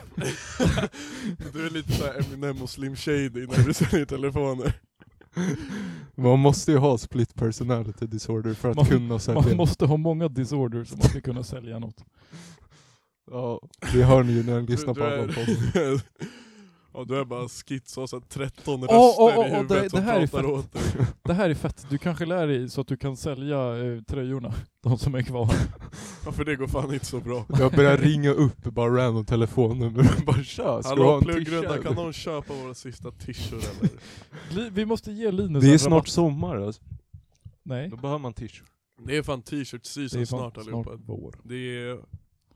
Du är lite såhär Eminem och Slim Shady när du säljer telefoner. Man måste ju ha split personality disorder för att Man- kunna sälja. Man måste ha många disorders om man ska kunna sälja något. Ja, det hör ni ju när ni lyssnar Du- på du är- Allan-podden. Ja du är bara skits och så här 13 röster Åh, åh, åh, i åh, huvudet det- det som här är pratar fett. åt dig. Det här är fett, du kanske lär dig så att du kan sälja eh, tröjorna, de som är kvar. Ja för det går fan inte så bra. Jag börjar ringa upp bara random telefonnummer och bara tja, ska du ha Hallå en tisha, pluggrunda, eller? kan någon köpa våra sista tishor eller? Li- Vi måste ge Linus Det är en snart rabatt. sommar alltså. Nej. Då behöver man tishor. Det är fan t-shirt season fan snart allihopa. vår. Det är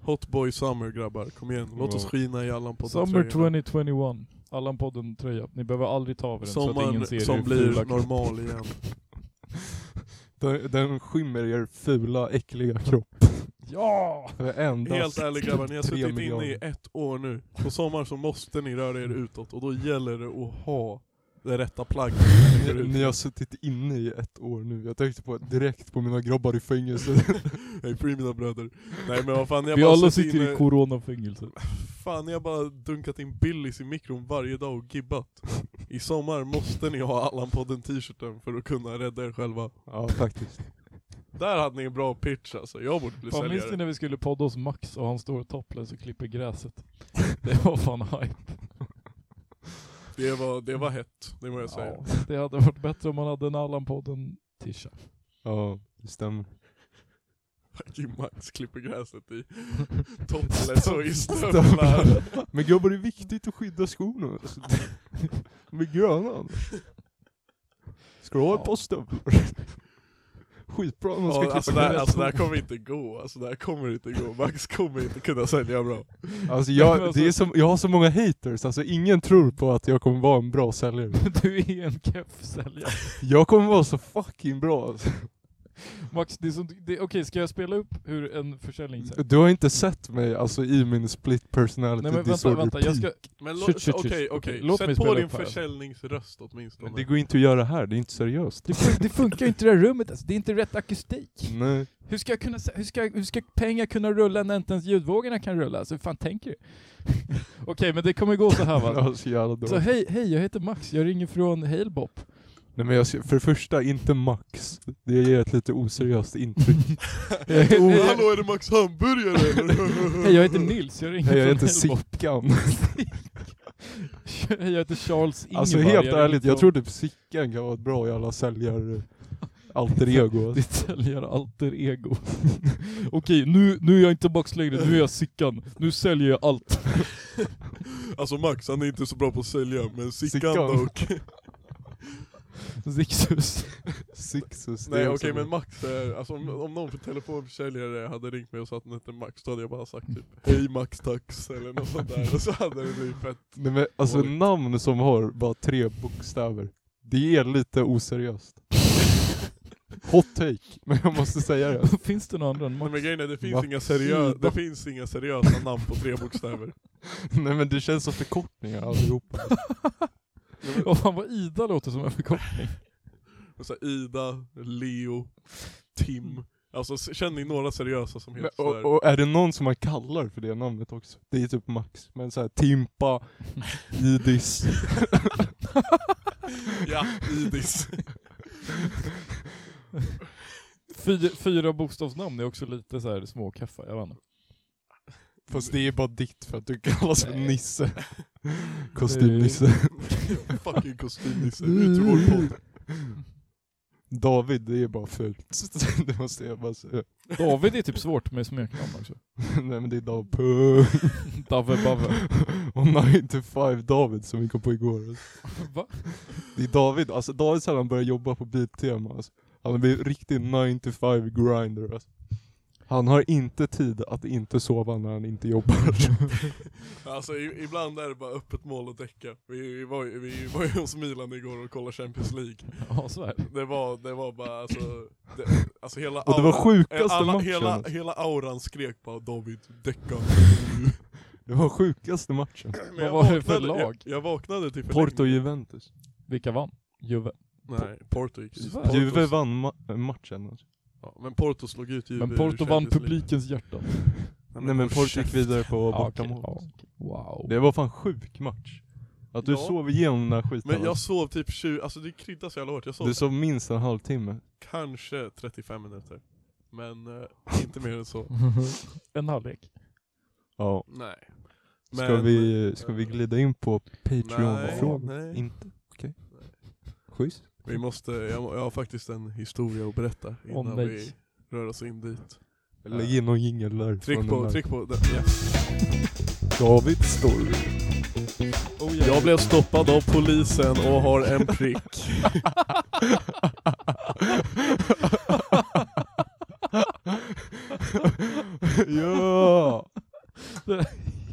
hot boy summer grabbar, kom igen. Låt oss Ja. skina i allan på Summer 2021. Allan-podden tröja. Ni behöver aldrig ta av er den så att ingen ser Sommaren hur som fula- blir normal igen. Den, den skymmer er fula, äckliga kropp. Ja! Endast Helt ärligt grabbar, ni har tre suttit inne i miljarder. ett år nu. På sommaren så måste ni röra er utåt och då gäller det att ha det rätta plagget. när ni går Ni, ut. ni har suttit inne i ett år nu. Jag tänkte på direkt på mina grabbar i fängelse. Hej free mina bröder. Nej men vad fan, ni har Vi bara alla suttit sitter inne- i coronafängelse. Fan, jag har bara dunkat in Billys i mikron varje dag och gibbat. I sommar måste ni ha Allan-podden t-shirten för att kunna rädda er själva. ja, faktiskt. Där hade ni en bra pitch alltså, jag borde bli Fan, minns ni säljare. när vi skulle podda hos Max och han står topless och klipper gräset? Det var fan hype. Det var, det var hett, det må jag säga. Ja, det hade varit bättre om man hade en Allan-podden tisha. Ja, det stämmer. Fucking Max klipper gräset i topless och i stövlar. Men grabbar, det är viktigt att skydda skorna. Alltså, de är gröna. Ska du ha ett par stövlar? Skitbra om man ska Ja, klippa Alltså det här- gräs. alltså, det här kommer inte gå, alltså det här kommer inte gå. Max kommer inte kunna sälja bra. Alltså Men jag, alltså- det är som, jag har så många haters, alltså ingen tror på att jag kommer vara en bra säljare. Du är en keff säljare. Jag kommer vara så fucking bra alltså. Max, det är som, det, okej ska jag spela upp hur en försäljning ser ut? Du har inte sett mig alltså i min split personality Nej men vänta, disorder vänta, jag ska... Men Shit, shit, låt- shit. okej, Okej, okej. låt mig Sätt spela på din upp här. försäljningsröst åtminstone. Det går inte att göra här, det är inte seriöst. Det, fun- det funkar ju inte i det här rummet alltså. det är inte rätt akustik. Nej. Hur ska, jag kunna, sä- hur, ska, hur ska pengar kunna rulla när inte ens ljudvågorna kan rulla? Alltså hur fan tänker du? Okej, men det kommer gå så här va? Alltså, jävla dåligt. Så hej, hej, jag heter Max, jag ringer från Hailbop. Nej men jag, ska- för det första, inte Max. Det ger ett lite oseriöst intryck. Jag heter, Oh, hej, hallå är det Max hamburgare eller? jag, hej, jag heter Nils, jag ringer Nej, jag från heter Hailbop. Sickan. Hej, jag heter Charles Ingevar. Alltså helt ringer ärligt, jag från- tror typ Sickan kan vara ett bra jävla säljare alter ego. alltså. Ditt säljaralter ego. Okej, nu, nu är jag inte Max längre, nu är jag Sickan. Nu säljer jag allt. Alltså Max han är inte så bra på att sälja, men Sickan Sickan. dock. Zixus. Sixus. det Nej är okej också bra. men Max är, alltså om, om någon för telefonförsäljare hade ringt mig och sagt att den hette Max, då hade jag bara sagt typ Hej Max tax eller något sånt där. Och så hade det blivit fett. Nej, men alltså Dåligt. namn som har bara tre bokstäver, det är lite oseriöst. Hot take, men jag måste säga det. Finns det några andra än Nej, Max? men grejen är det finns, Max inga seriö- Ida. det finns inga seriösa namn på tre bokstäver. Nej men det känns som förkortningar allihopa. Ja, fan vad Ida låter som en förkortning. Och Så här, Ida, Leo, Tim. Alltså s- känner ni några seriösa som Men, heter sådär? och, och är det någon som man kallar för det namnet också? Det är typ Max, men såhär Timpa, Idis. Ja, Idis. Fyra, fyra bokstavsnamn är också lite så här småkaffa, jag vet inte. Fast det är bara ditt för att du kallas för Nej. Nisse. Kostymnisse. Fucking kostymnisse, ut ur vår podd. David, det är bara fult. Det måste jag bara säga. David är typ svårt med smeknamn också. Nej men det är Dav Puh. Dave Bave. Och 9 to 5 David som vi kom på igår. Alltså. Va? Det är David, alltså David sen han började jobba på Biltema alltså. Han blir riktig 9 to 5 grinder alltså. Han har inte tid att inte sova när han inte jobbar. Alltså i, ibland är det bara öppet mål och däcka. Vi, vi, var, ju- vi var ju hos Milan igår och kollade Champions League. Ja, så är det. Det var, det var bara alltså, det, alltså hela Och det var auran- sjukaste alla, matchen. hela, Alltså. hela auran skrek bara David, däcka. Det var sjukaste matchen. Men jag var det för vaknade- lag? Jag, jag vaknade till Porto Juventus. Vilka vann? Juve. Nej, Porto gick Juve Portos- Juve vann ma- äh, matchen alltså. Ja, men Porto slog ut Juve Men ur Porto vann Champions League. publikens hjärta. Nej men håll Porto käft. gick vidare på Ja, okej, bortamål. ja, okej. Wow. Det var fan sjuk match. Att du Ja. sov igenom den här skiten. Men jag alltså. sov typ 20, alltså det kryddar så jävla hårt. Jag sov Du sov minst en halvtimme. kanske 35 minuter. Men eh, inte mer än så. en halvlek. Ja. Nej. Ska, vi, ska vi glida in på Patreon-frågan? eh, Nej, nej. Inte? Okej. Schysst. Vi måste, jag, må- jag har faktiskt en historia att berätta innan Om vi dig. rör oss in dit. Eh, Lägg in någon jingel där. från Tryck den på, där. tryck på. Den, yes. David Story. Jag blev stoppad av polisen och har en prick. ja!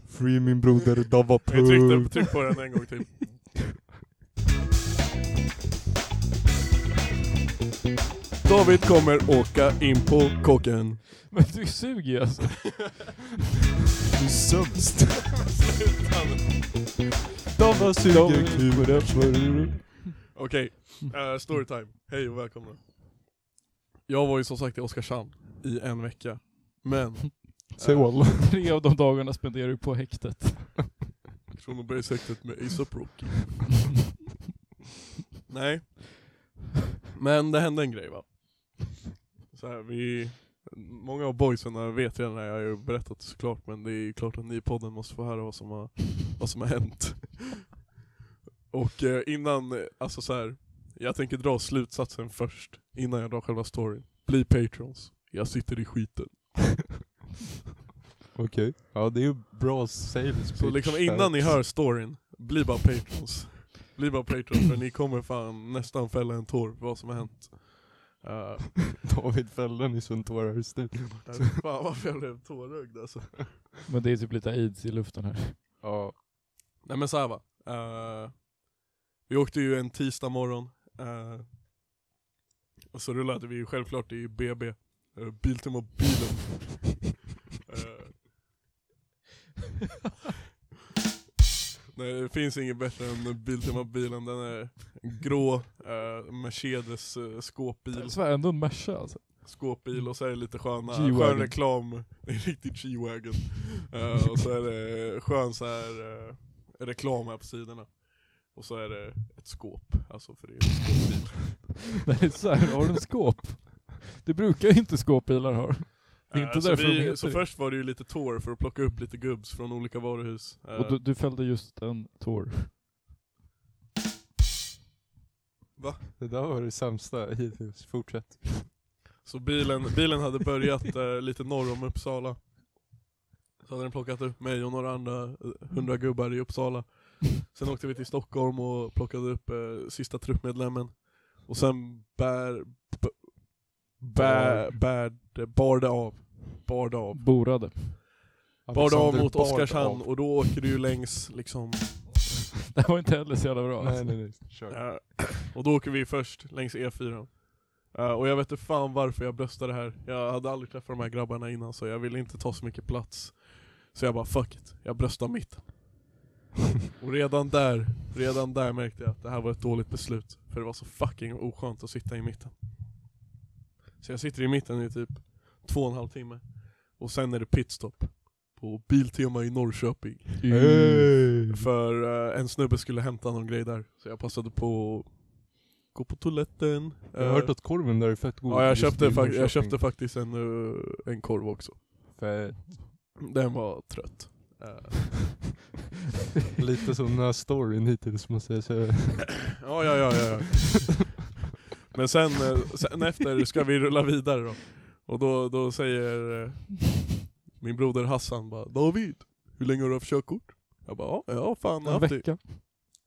Free min broder Dava Jag tryckte, Punk. tryck på den en gång till. David kommer åka in på kocken. Men du suger ju alltså. Du är sämst. Sluta nu. Dava suger kul. Okej, eh, storytime. Hej och välkomna. Jag var ju som sagt i Oskarshamn i en vecka. Men Säg walla. Tre av de dagarna spenderar du på häktet. Kronobergshäktet med ASAP Rocky. Nej. Men det hände en grej va. Så här, vi, många av boysen vet redan det här, jag har ju berättat det såklart men det är ju klart att ni i podden måste få höra vad som har, vad som har hänt. Och eh, innan, eh, alltså så här. jag tänker dra slutsatsen först innan jag drar själva storyn. Bli patrons, jag sitter i skiten. Okej. Ja det är ju bra sales Så liksom pitch där. innan ni hör storyn, bli bara patrons. Bli bara patrons för ni kommer fan nästan fälla en tår för vad som har hänt. Uh, David Fällen i Sunt i studion. fan varför jag blev tårögd alltså. Men det är typ lite aids i luften här. Ja. Nej men såhär va. Eh, vi åkte ju en tisdag morgon. eh, och så rullade vi ju självklart i BB. Uh, Biltema bilen. Eh, Nej det finns inget bättre än Biltema bilen. Den är grå, eh, Mercedes uh, skåpbil. Så här, ändå en Merca alltså. Skåpbil och så är det lite sköna, G-Wagon. skön reklam. Det är riktigt G-Wagon. Eh, och så är det skön så här eh, reklam här på sidorna. Och så är det ett skåp, alltså för det är en skåpbil. Nej, så här, har du en skåp? Det brukar ju inte skåpbilar ha. Det är Eh, inte så därför de vi, heter så det. först var det ju lite tår för att plocka upp lite gubbs från olika varuhus. Eh, Och du, du fällde just en tår. Det där var det sämsta hittills. Fortsätt. Så bilen, bilen hade börjat eh, lite norr om Uppsala. Så hade den plockat upp mig och några andra eh, hundra gubbar i Uppsala. Sen åkte vi till Stockholm och plockade upp eh, sista truppmedlemmen. Och sen bär, b- bär, bär, det- bar det av. Bar det av. Borade. Bar det av Alexander mot Bard Oskarshamn av. och då åker du ju längs liksom Det var inte heller så jävla bra. Nej Alltså. nej nej. Kör. Eh, och då åker vi först längs E4. Eh, och jag vet inte fan varför jag bröstade det här. Jag hade aldrig träffat de här grabbarna innan så jag ville inte ta så mycket plats. Så jag bara fuck it, jag bröstar mitt. och redan där, redan där märkte jag att det här var ett dåligt beslut. För det var så fucking oskönt att sitta i mitten. Så jag sitter i mitten i typ två och en halv timme. Och sen är det pitstop. På Biltema i Norrköping. Hey. För eh, en snubbe skulle hämta någon grej där, så jag passade på att gå på toaletten. Eh, Jag har hört att korven där är fett god. Ja, jag Just köpte, i fak- jag Norrköping. köpte faktiskt en, eh, en korv också. Fett. Den var trött. Eh, Lite som den här storyn hittills måste jag säga. Ja, ja, ja, ja. ja. Men sen, eh, sen efter ska vi rulla vidare då. Och då, då säger eh, min broder Hassan bara David, hur länge har du haft körkort? Jag bara ja, jag har fan En haft det, vecka.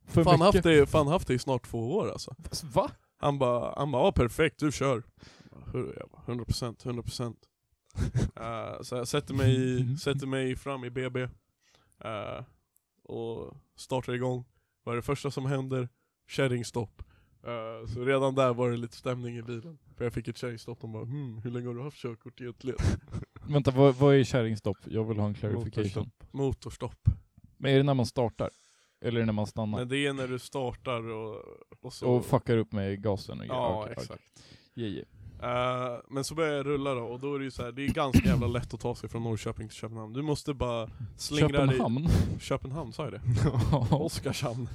För fan haft mycket. det, fan haft det i snart två år alltså. Va? Han bara, han bara ja perfekt, du kör. Hur- Jag bara, 100%, 100%. Eh, så jag sätter mig, i- sätter mig fram i BB eh, och startar igång. Vad är det första som händer? Kärringstopp. Eh, så redan där var det lite stämning i bilen. För jag fick ett kärringstopp, de bara hmm, hur länge har du haft körkort egentligen? Vänta, vad, vad är kärringstopp? Jag vill ha en clarification. Motorstopp. Men är det när man startar? Eller är det när man stannar? Men det är när du startar och, och så. Och fuckar upp med gasen och grejer? ja, Okej, exakt. okej. Yeah, yeah. Eh, men så börjar jag rulla då, och då är det ju så här, det är ganska jävla lätt att ta sig från Norrköping till Köpenhamn. Du måste bara slingra Köpenhamn? dig... Köpenhamn? sa jag det? Ja. Oskarshamn.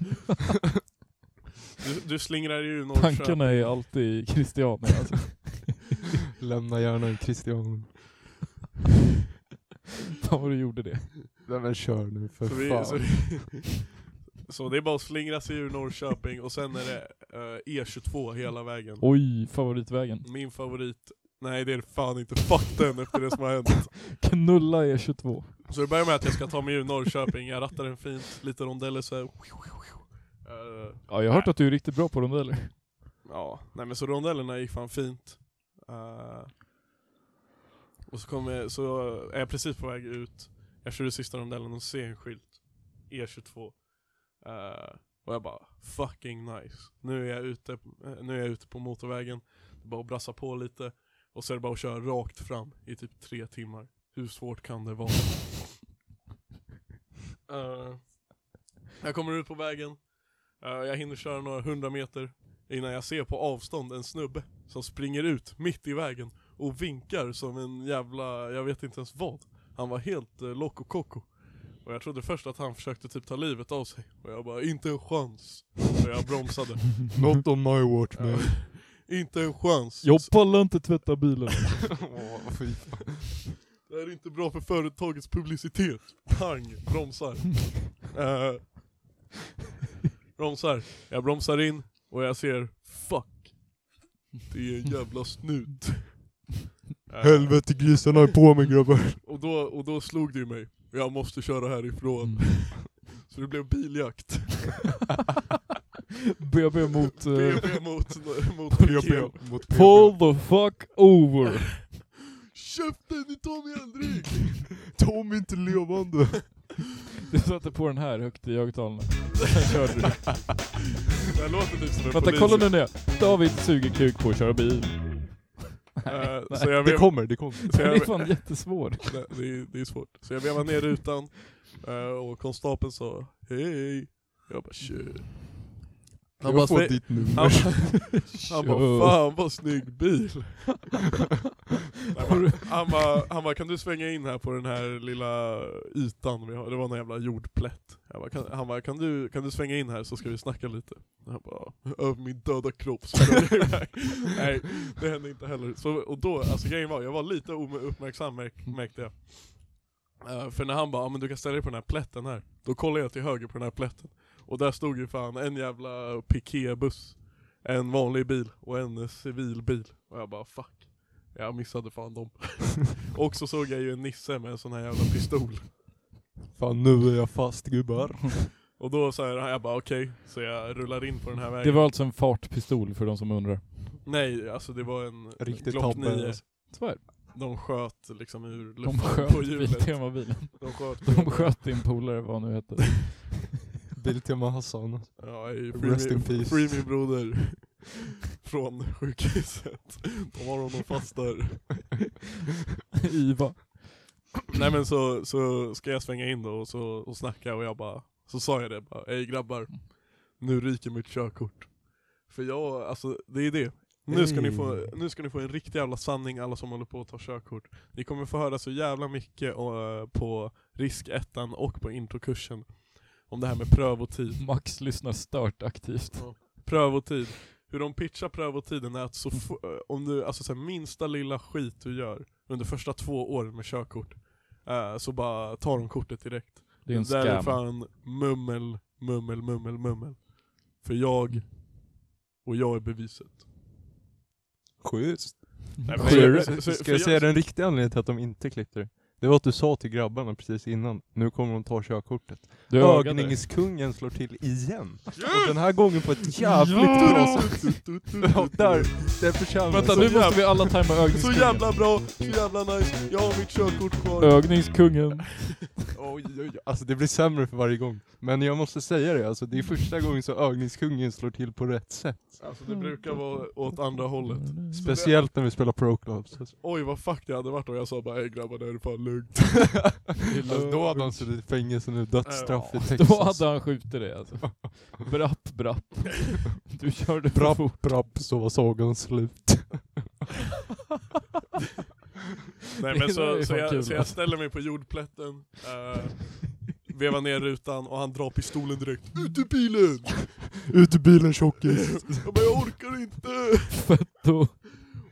du, du slingrar dig ur Norrköping. Tankarna är alltid Christiania alltså. Lämna gärna en Christian. Fan vad du gjorde det. Nej men kör nu för Så, vi, fan. så, så det är bara att slingra sig ur Norrköping, och sen är det eh, E22 hela vägen. Oj, favoritvägen. Min favorit, nej det är det fan inte, fuck den efter det som har hänt. Knulla E E22. Så det börjar med att jag ska ta mig ur Norrköping, jag rattar den fint, lite rondeller så här. Eh, Ja, jag har hört att du är riktigt bra på rondeller. Ja, nej men så rondellerna gick fan fint. Eh, och så, kom jag, så är jag precis på väg ut, jag körde sista rondellen och ser en skylt, E22. Eh, och jag bara, fucking nice. Nu är jag ute, eh, nu är jag ute på motorvägen, det är bara att brassa på lite. Och så är det bara att köra rakt fram i typ tre timmar. Hur svårt kan det vara? Eh, jag kommer ut på vägen, Eh, jag hinner köra några hundra meter innan jag ser på avstånd en snubbe som springer ut mitt i vägen och vinkar som en jävla, jag vet inte ens vad. Han var helt eh, loco coco. Och jag trodde först att han försökte typ ta livet av sig. Och jag bara, inte en chans. Och jag bromsade. Not on my watch man. Eh, inte en chans. Jag pallar inte tvätta bilen. Åh, fy fan. Det här är inte bra för företagets publicitet. Pang, bromsar. Eh, bromsar. Jag bromsar in och jag ser, fuck. Det är en jävla snut. Eh, Helvete grisarna är på mig grabbar. och, då, och då slog det ju mig. Jag måste köra härifrån. Mm. Så det blev biljakt. BB mot... eh, BB mot, mot PB. mot Pull the fuck over. Käften, ni tar mig aldrig! Ta mig inte levande. Du satte på den här högt i högtalarna. Sen körde du. Det här låter typ som en Vänta, polis. kolla nu ner. David suger kuk på att köra bil. Eh, så jag Det vet, kommer, det kommer. så Den är jag, fan jättesvår. Nej, det, är, det är svårt. Så jag vevade ner rutan eh, och konstapeln sa hej. Jag bara tjur. Han bara, Jag får "Fe- ditt han, nummer. han bara fan vad snygg bil. Han bara, han, bara, han bara kan du svänga in här på den här lilla ytan vi har? Det var någon jävla jordplätt. Jag bara, kan, han bara kan du, kan du svänga in här så ska vi snacka lite? Jag bara över min döda kropp så körde jag iväg. Nej det hände inte heller. Så, och då, alltså grejen var jag var lite ouppmärksam märk, märkte jag. Eh, för när han bara, ah, men du kan ställa dig på den här plätten här. Då kollade jag till höger på den här plätten. Och där stod ju fan en jävla piketbuss. En vanlig bil och en eh, civilbil. Och jag bara fuck. Jag missade fan dem. och så såg jag ju en nisse med en sån här jävla pistol. Fan nu är jag fast gubbar. Och då sa jag, jag bara okej. Så jag rullar in på den här vägen. Det var alltså en fartpistol för de som undrar. Nej, alltså det var en Riktigt Glock tabbe, 9. alltså. Tyvärr. De sköt liksom ur De luften på sköt hjulet. temabilen. De sköt på De hjulet. sköt din polare, vad han nu hette. Biltema Hassan. Ja, i Rest free in me- peace. Free min broder. Från sjukhuset. De har honom fast där. IVA. Nej men så, så ska jag svänga in då och, så, och snacka och jag bara, så sa jag det bara, ej grabbar, nu ryker mitt körkort. För jag, alltså det är det. Nu ska, ni få, Ey. nu ska ni få en riktig jävla sanning alla som håller på att ta körkort. Ni kommer få höra så jävla mycket eh, på riskettan och på introkursen. Om det här med pröv och tid. Max lyssnar stört aktivt. prövotid. Hur de pitchar prövotiden är att så f- om du, alltså så här, minsta lilla skit du gör under första två åren med körkort eh, så bara tar de kortet direkt. Det är en där är scam. fan mummel, mummel, mummel, mummel. För jag, och jag är beviset. Schysst. Nej, men- Ska, så- så- för jag säga jag- den riktiga anledningen till att de inte klippte det? Det var att du sa till grabbarna precis innan, nu kommer de ta körkortet. Du ögade. Ögningskungen slår till igen. Och den här gången på ett jävligt bra Alltså, sätt. Ja, där, där förtjänar Vänta så- nu måste vi alla tajma Så ögningskungen. jävla bra, så jävla nice, jag har mitt körkort kvar. Ögningskungen. Oj, oj, oj. Alltså det blir sämre för varje gång. Men jag måste säga det, alltså det är första gången så ögningskungen slår till på rätt sätt. Alltså det brukar vara åt andra hållet. Mm. Speciellt när vi spelar Pro Clubs. Alltså, Oj vad fuck det hade varit om jag sa bara ej grabbar det här är fan lugnt. då hade han suttit i fängelse nu, dödsstraff i Texas. Alltså, Då hade han skjutit dig alltså. Brapp, brapp. Du körde för fort. Brapp, brapp, så var sagan slut. Det Nej men där är så, så, fan kul, jag, så jag alltså. ställer mig på jordplätten, eh, vevar ner rutan och han drar pistolen direkt. Ut ur bilen! Ut ur bilen tjockis! Jag bara jag orkar inte! Då,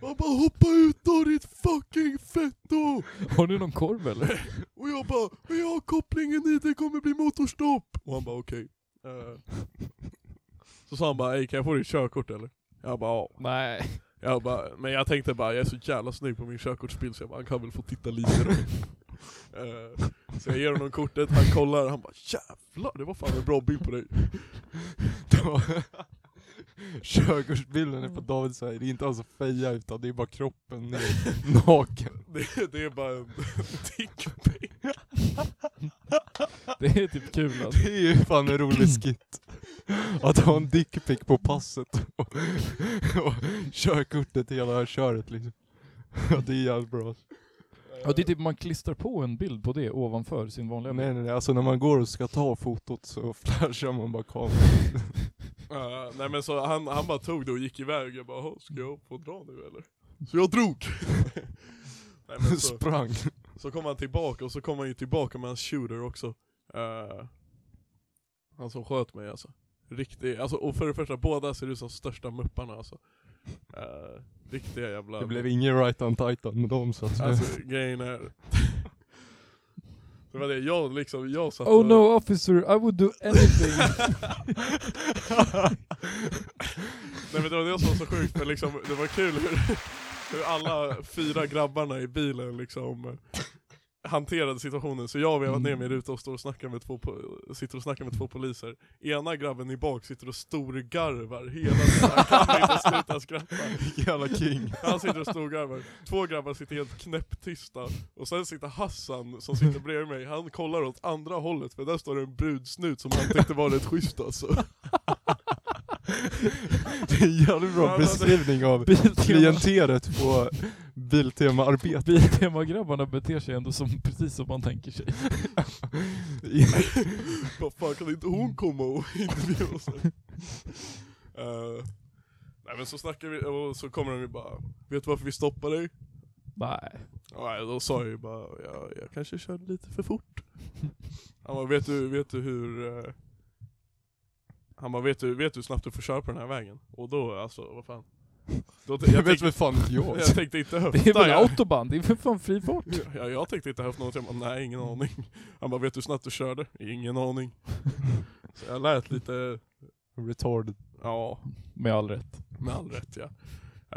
Han bara hoppa ut då ditt fucking fetto! har du någon korv eller? Och jag bara, men jag har kopplingen i, det kommer bli motorstopp! Och han bara okej. Eh, Så sa han bara, "Ey, kan jag få ditt körkort eller? Jag bara ja. Nej. Jag bara, men jag tänkte bara, jag är så jävla snygg på min körkortsbild så jag bara, han kan väl få titta lite då. Eh, så jag ger honom kortet, han kollar, han bara jävlar det var fan en bra bild på dig. Körkortsbilden är på David så här, det är inte alls feja utan det är bara kroppen ner, naken. Det, det är bara en dickpic. Det är typ kul alltså. Det är ju fan en rolig skit. Att ha en dickpic på passet och, och körkortet hela det här köret liksom. Ja, det är jävligt bra. Ja, det är typ man klistrar på en bild på det ovanför sin vanliga bild. Nej nej nej, alltså när man går och ska ta fotot så flashar man bara kameran. Eh, nej men så han, han bara tog det och gick iväg, jag bara, "Jaha, ska jag få dra nu eller? Så jag drog! nej, men så, Sprang. så kom han tillbaka och så kom han ju tillbaka med hans shooter också. Eh, han som sköt mig alltså. Riktig, alltså och för det första båda ser ut som största mupparna alltså. Eh, riktiga jävla... Det blev ingen right on titan med dem så att säga. Alltså grejen är... det var det, jag liksom, jag satt Oh no officer, I would do anything. Nej men det var det som var så sjukt, men liksom, det var kul hur, hur alla fyra grabbarna i bilen liksom hanterade situationen. Så jag har vevat ner mig i rutan och står och snackar med två, po- sitter och snackar med två poliser. Ena grabben i bak sitter och storgarvar hela tiden, han kan inte sluta skratta. jävla king. Han sitter och storgarvar. Två grabbar sitter helt knäpptysta. Och sen sitter Hassan som sitter bredvid mig, han kollar åt andra hållet för där står det en brudsnut som han tyckte var rätt schysst alltså. Det är en jävligt bra Ja, beskrivning av Biltema- klientelet på Biltema-arbete. Biltema-grabbarna beter sig ändå som, precis som man tänker sig. Vad fan kan inte hon komma och intervjua oss? Eh, nej men så snackar vi, och så kommer de ju bara Vet du varför vi stoppar dig? Nej. Nej då sa jag ju bara, jag, jag kanske körde lite för fort. Han bara, vet du, vet du hur... eh, han bara, vet du, vet du hur snabbt du får köra på den här vägen? Och då alltså, vad fan. Då, jag, Jag vet tänkte, väl fan inte jag. jag tänkte inte höfta. Det är väl jag, autobahn, det är för fan fri fart. jag, jag tänkte inte höfta något, jag bara, nej ingen aning. Han bara, vet du hur snabbt du körde? Ingen aning. Så jag lät lite, Retarded. ja. Med all rätt. Med all rätt ja.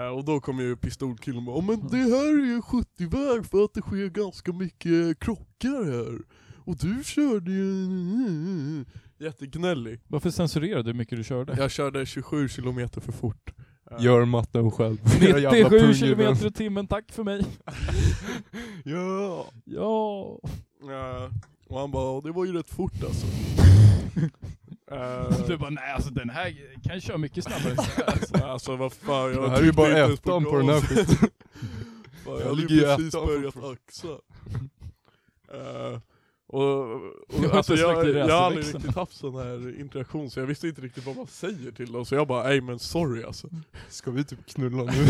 Eh, Och då kom ju pistolkillen och bara "Ja, men det här är ju 70-väg för att det sker ganska mycket krockar här. Och du körde ju... Jättegnällig. Varför censurerar du hur mycket du körde? Jag körde 27 kilometer för fort. Eh, Gör matten själv. Era jävla 97 pungjävel. kilometer i timmen, tack för mig. Ja. Ja. Eh, Och han bara "Ja, det var ju rätt fort alltså. Eh, Du bara, nej alltså den här kan jag köra mycket snabbare. alltså vad fan jag Det här är ju tryckte bara inte ens ettan på den här gas. skiten. Fan, Jag jag hade ligger ju i precis ettan börjat fortfarande. axa. Eh, och, och, Jag har alltså, inte jag, släckt i jag har aldrig racerväxeln. riktigt haft sån här interaktion så jag visste inte riktigt vad man säger till dem så jag bara ej men sorry alltså. Ska vi typ knulla nu?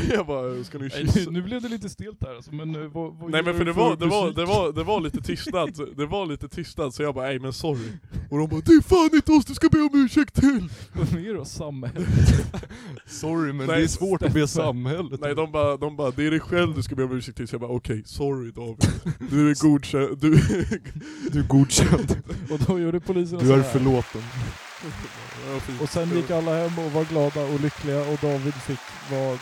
jag bara, ska ni Nej, kyssa? nu- nu blev det lite stelt här alltså, men eh, vad, vad Nej gör men för du det var, det var, musik? det var, det var lite tystnad, det var lite tystnad så jag bara nej men sorry. Och de bara det är fan inte oss du ska be om ursäkt till! Vad är det då, samhälle? Sorry men Nej, det är svårt att be samhället Nej de bara, de bara det är dig själv du ska be om ursäkt till. Så jag bara okej, sorry David. Du är godkänd, du... Du är godkänd. Och då gjorde polisen Du är sådär. förlåten. Ja, fint. Och sen gick alla hem och var glada och lyckliga och David fick vara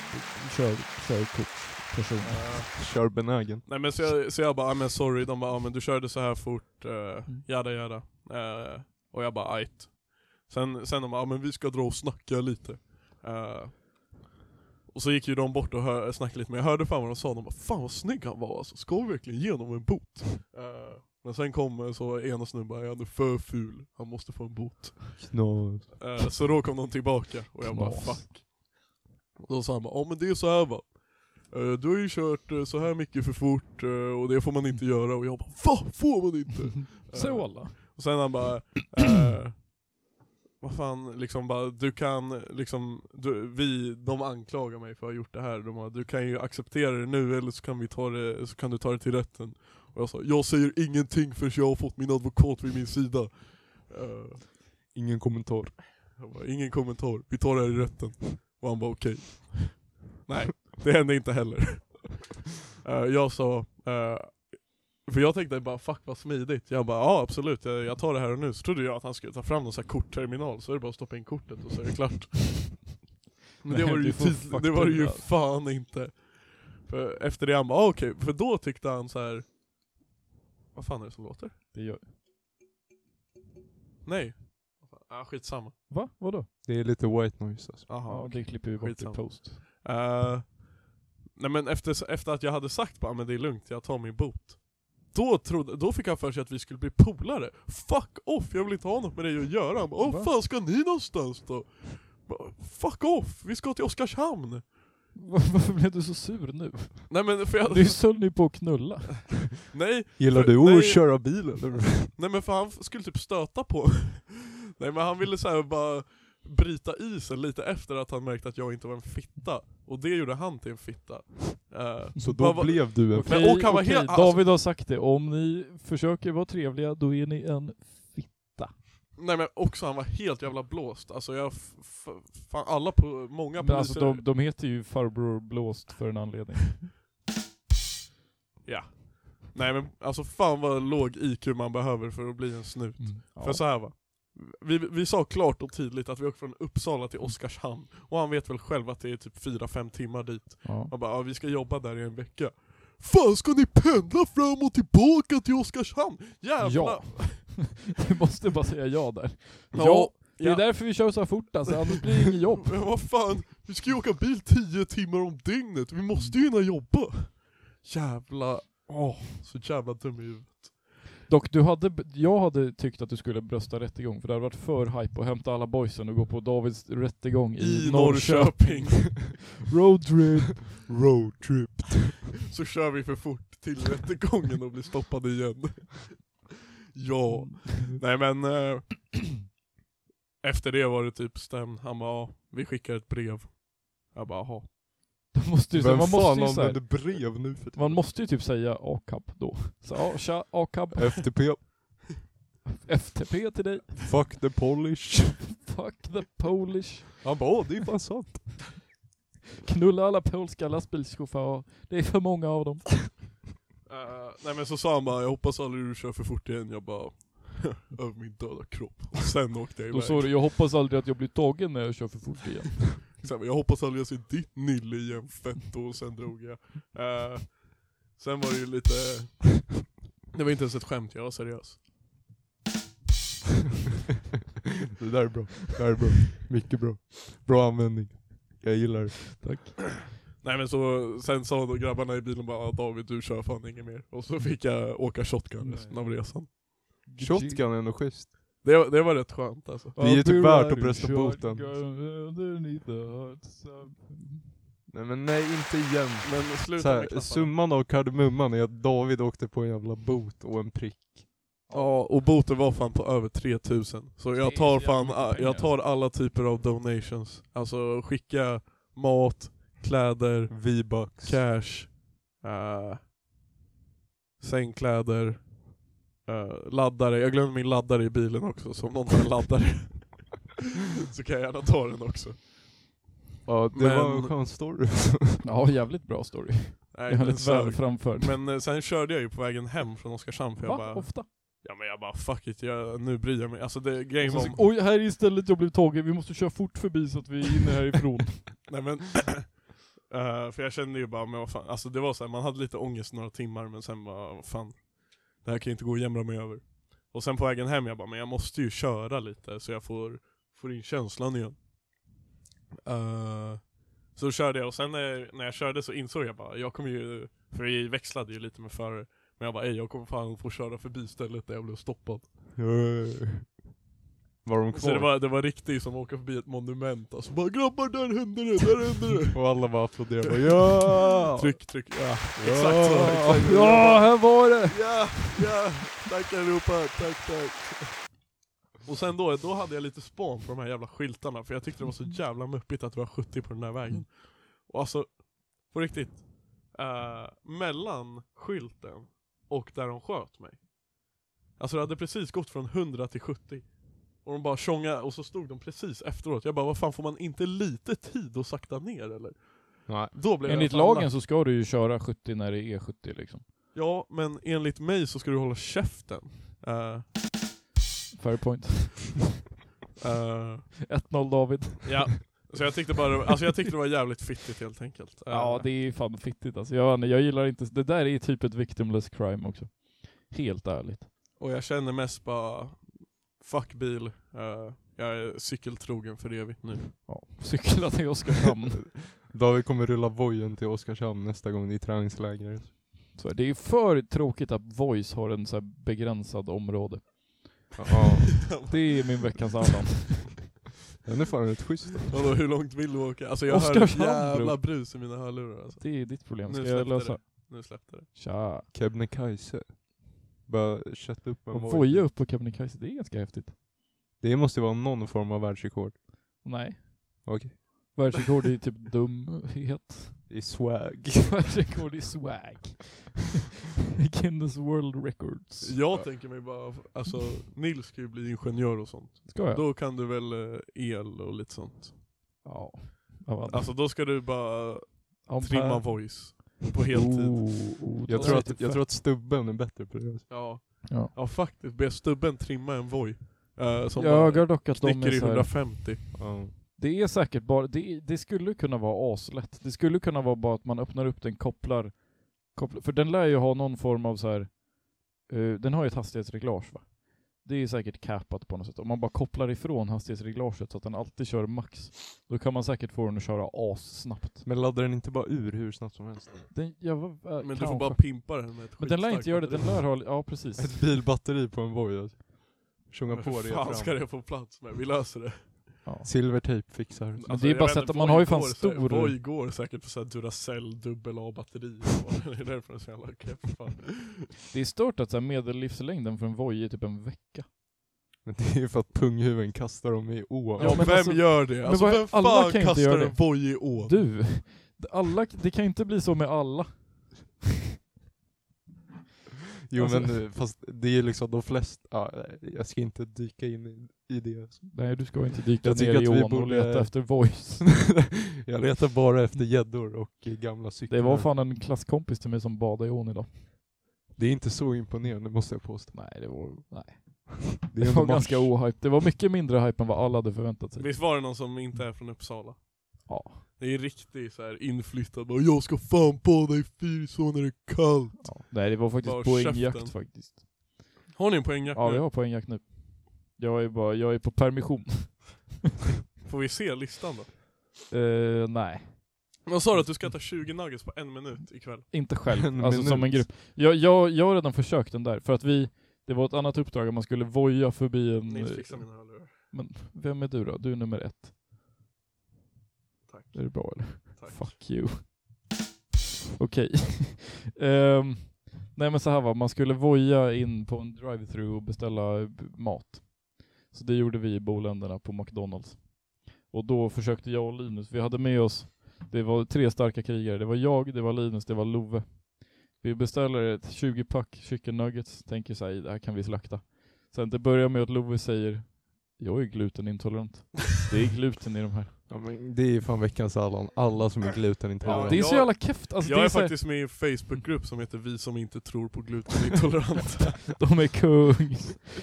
kör, körkortsperson. Ja. Kör benägen. Nej men så jag, så jag bara, ah, men sorry, de bara, ah, men du körde så här fort, uh, jada jada. Eh, och jag bara, ajt. Sen, sen de bara, ah, men vi ska dra och snacka lite. Eh, och så gick ju de bort och hör, snackade lite, men jag hörde fan vad de sa, de bara, fan vad snygg han var alltså, ska vi verkligen ge honom en bot? Eh, men sen kom eh, så ena snubben, han är för ful, han måste få en bot. Knas. Eh, så då kom de tillbaka och jag bara Knas. fuck. Och då sa han bara, ja men det är så här va. Eh, Du har ju kört eh, så här mycket för fort eh, och det får man inte göra och jag bara vad får man inte? Eh, Så alla. Och sen han bara, eh, vad fan liksom bara du kan liksom, du, vi, de anklagar mig för att ha gjort det här. De bara, du kan ju acceptera det nu eller så kan, vi ta det, så kan du ta det till rätten. Och jag sa, jag säger ingenting förrän jag har fått min advokat vid min sida. Eh, Ingen kommentar. jag bara, ingen kommentar, vi tar det här i rätten. Och han bara okej. Nej, det hände inte heller. Eh, jag sa, eh, för jag tänkte bara fuck vad smidigt. Jag bara ja absolut, jag, jag tar det här och nu. Så trodde jag att han skulle ta fram någon sån här kortterminal, så är det bara att stoppa in kortet och så är det klart. Men Nej, det var det du ju, får tydligt, det faktura. var det ju fan inte. För efter det han bara ah, okej, för då tyckte han så här. Vad fan är det som låter? Det gör... Nej. Vad fan, Ah, skitsamma. Va? Vadå? Det är lite white noise alltså. Aha, Ja, det klipper vi bort i Skitsamma. post. Eh, nej men efter, efter att jag hade sagt bara men det är lugnt, jag tar min bot. Då, trodde, då fick han för sig att vi skulle bli polare. Fuck off, jag vill inte ha något med dig att göra. Han bara, "Åh, Va? fan ska ni någonstans då? Bara, Fuck off, vi ska till Oskarshamn. Var- Varför blev du så sur nu? Nej men för Du jag, höll ju på att knulla. nej, Gillar du Nej. att köra bil eller? nej men för han skulle typ stöta på Nej men han ville så här bara bryta isen lite efter att han märkte att jag inte var en fitta. Och det gjorde han till en fitta. Eh, Så Vad då var- blev du en... Okej, Men- och han var okej, helt- alltså- David har sagt det, om ni försöker vara trevliga då är ni en fitt. Nej men också han var helt jävla blåst, alltså jag, f- f- fan alla på, många Men poliser... alltså de, de heter ju farbror blåst för en anledning. Ja. Nej men alltså fan vad låg IQ man behöver för att bli en snut. Mm. För så här va. Vi, vi sa klart och tydligt att vi åker från Uppsala till Oskarshamn, och han vet väl själv att det är typ 4-5 timmar dit. Ja. Han bara ja, vi ska jobba där i en vecka. Fan ska ni pendla fram och tillbaka till Oskarshamn? Jävla... Ja. Du måste bara säga ja där. Ja. Det är därför vi kör så här fort alltså, annars blir det inget jobb. Men vad fan, vi ska ju åka bil 10 timmar om dygnet, vi måste ju hinna jobba. Jävla, åh, så jävla dum i huvudet. Dock, du hade, jag hade tyckt att du skulle brösta rättegång, för det hade varit för hype att hämta alla boysen och gå på Davids rättegång i, I Norrköping Roadtrip. Roadtrip. så kör vi för fort till rättegången och blir stoppade igen. Ja, nej men eh, efter det var det typ stämd, han bara "Ja, vi skickar ett brev. Jag bara jaha. Då måste ju, Vem man, måste fan ju så här, använder brev nu för man måste ju typ säga A-cab då. Så ja, tja, A-cab, FTP, FTP till dig. fuck the polish. Fuck the Polish. Han bara "Åh, det är fan sant. Knulla alla polska lastbilschaufförer. Det är för många av dem. Eh, nej men så sa han bara jag hoppas aldrig du kör för fort igen, jag bara över min döda kropp. Och sen åkte jag Då iväg. sa du, jag hoppas aldrig att jag blir tagen när jag kör för fort igen. Så jag bara, jag hoppas aldrig jag ser ditt nylle igen fett och sen drog jag. Eh, sen var det ju lite, det var inte ens ett skämt, jag var seriös. Det där är bra. Det där är bra. Mycket bra. Bra användning. Jag gillar det. Tack. Nej men så, sen sa då grabbarna i bilen bara "Ah, David du kör fan inget mer. Och så fick jag åka shotgun resten av resan. Shotgun är nog schysst. Det, var- det var rätt skönt alltså. Det är ju typ värt att brösta boten. Nej men nej, inte igen. Men sluta Så med här, knapparna. summan av kardemumman är att David åkte på en jävla bot och en prick. Ja och boten var fan på över 3000. Så Det är jag tar så jävla fan, mycket pengar. jag tar alla typer av donations. Alltså skicka mat, kläder, V-bucks. cash, eh, sängkläder, eh, laddare. Jag glömde min laddare i bilen också, så om någon har en laddare så kan jag gärna ta den också. Ja, det Men- var en skön story. Ja, jävligt bra story. Nej, den Jävligt väl sög. framförd. Men eh, sen körde jag ju på vägen hem från Oskarshamn för jag Va? bara, Ofta? ja men jag bara fuck it, jag, nu bryr jag mig. Alltså det, grejen Och var sen så- Oj, här är istället jag blev tagen. Vi måste köra fort förbi så att vi hinner härifrån. Nej men, eh, för jag kände ju bara, men vad fan, alltså det var så här, man hade lite ångest några timmar men sen bara, vad fan, det här kan ju inte gå att jämra mig över. Och sen på vägen hem jag bara, men jag måste ju köra lite så jag får, får in känslan igen. Eh, så körde jag och sen när, när jag körde så insåg jag bara, jag kommer ju, för vi växlade ju lite med förare, men jag bara, ej jag kommer fan få köra förbi stället där jag blev stoppad. var de Så kvar? det var, det var riktigt som att åka förbi ett monument alltså, bara grabbar där hände det, där hände det. Och alla bara applåderade. Bara, ja! Tryck, tryck, ja. ja! Exakt så, exakt så. ja, här var det! Ja, ja, tack allihopa, tack tack. Och sen då, då hade jag lite span på de här jävla skyltarna för jag tyckte det var så jävla muppigt att det var 70 på den där vägen. Och alltså, på riktigt. Eh, mellan skylten och där de sköt mig. Alltså det hade precis gått från 100 till 70. Och de bara tjonga och så stod de precis efteråt. Jag bara, vad fan får man inte lite tid att sakta ner eller? Nej. Då blev jag Enligt fan lagen så ska du ju köra 70 när det är 70 liksom. Ja, men enligt mig så ska du hålla käften. Eh, Fair point. eh, 1-0 David. ja. Så jag tyckte bara, alltså jag tyckte det var jävligt fittigt helt enkelt. Eh, Ja, det är fan fittigt alltså. Jag, vet inte, jag gillar inte, det där är typ ett victimless crime också. Helt ärligt. Och jag känner mest bara, fuck bil. Eh, jag är cykeltrogen för evigt nu. Ja. Cykla till Oskarshamn. David kommer rulla vojen till Oskarshamn nästa gång det är träningsläger. Så det är för tråkigt att Voice har en så här begränsad område. Ja. Det är min veckans annan. Den är fan rätt schysst. Vadå, hur långt vill du åka? Alltså jag hör ett Oskarshamn, jävla brus i mina hörlurar alltså. Det är ditt problem. Ska Nu jag släppte lösa? det. Nu släppte det. Tja. Kebnekaise. Bara kötta upp en Och voj. voja upp på Kebnekaise, det är ganska häftigt. Det måste ju vara någon form av världsrekord. Nej. Okej. Världsrekord i typ dumhet. I swag. Världsrekord i swag. Guinness World Records. Jag tänker mig bara, alltså Nils ska ju bli ingenjör och sånt. Ska jag? Då kan du väl eh, el och lite sånt. Ja. Avanza. Alltså då ska du bara Ampere. trimma voice på heltid. Oh, oh, Jag det tror, är att, jag tror att stubben är bättre på det. alltså. Ja. Ja. Ja. faktiskt, be stubben trimma en Voi. eh, som Jag ögar dock att bara de är knicker i så här, 150. Ja. Det är säkert bara, det, det skulle kunna vara aslätt. Det skulle kunna vara bara att man öppnar upp den, kopplar, kopplar för den lär ju ha någon form av så här. eh, den har ju ett hastighetsreglage va? Det är säkert capat på något sätt. Om man bara kopplar ifrån hastighetsreglaget så att den alltid kör max, då kan man säkert få den att köra assnabbt. Men laddar den inte bara ur hur snabbt som helst? Den, jag, var- eh, Men du kanske. får bara pimpa den med ett Men den lär skitstarkt inte göra det, den batteri. lär ha, ja precis. Ett bilbatteri på en voj alltså. Tjonga Men på det Hur fan fram. ska det få plats med? Vi löser det. Alltså, Ja. Silvertejp fixar det. det är jag bara vet sätt inte, att man Voi har ju fan går så- stor- Voi går säkert på såhär Duracell dubbel A-batteri. det är därför den är så jävla keff. fan. Det är stört att så här, medellivslängden för en Voi är typ en vecka. Men det är ju för att punghuven kastar dem i ån. Ja, Ja, men vem alltså- gör det? Alltså vad- vem alla fan kan inte kastar göra en det. Voi i ån? Du, alla, det kan inte bli så med alla. Jo Alltså- men eh, fast det är liksom de flesta, ja, eh, jag ska inte dyka in i, i det. alltså. Nej, du ska inte dyka Jag tycker ner i att vi ån och borde- leta efter voice. jag letar bara efter gäddor och eh, gamla cyklar. Det var fan en klasskompis till mig som badade i ån idag. Det är inte så imponerande måste jag påstå. Nej, det var, nej. Det Det är var ändå ganska mars. ohype. Det var mycket mindre hype än vad alla hade förväntat sig. Visst var det någon som inte är från Uppsala? Ja. Det är riktigt så här inflyttad bara 'Jag ska fan bada i Fyrisån när det är kallt' Ja. Nej, det var faktiskt Bara poängjakt käften. faktiskt. Har ni en poängjakt Ja, nu? vi har poängjakt nu. Jag är, bara, jag är på permission. Får vi se listan då? Eh, nej, Vad sa du att du ska ta 20 nuggets på en minut ikväll? inte själv. En alltså som en minut. grupp. Jag, jag, jag har redan försökt den där, för att vi, det var ett annat uppdrag att man skulle voja förbi en... Nils fixar mina hörlurar. Men vem är du då? Du är nummer ett. Tack. Är det bra eller? Tack. Fuck you. Okej. Ehm, nej men så här var man skulle voja in på en drive-through och beställa eh, b- mat. Så det gjorde vi i Boländerna på McDonalds. Och då försökte jag och Linus, vi hade med oss Det var tre starka krigare. Det var jag, det var Linus, det var Love. Vi beställer ett 20-pack chicken nuggets, tänker så här, det här kan vi slakta. Sen det börjar med att Love säger, jag är glutenintolerant. Det är gluten i de här. Ja, men det är ju fan veckans Allan. Alla som är Ja, glutenintoleranta. Det är så jag- jävla keft. Alltså, det jag är är så här, faktiskt med i en Facebookgrupp som heter Vi som inte tror på glutenintolerant. De är kung.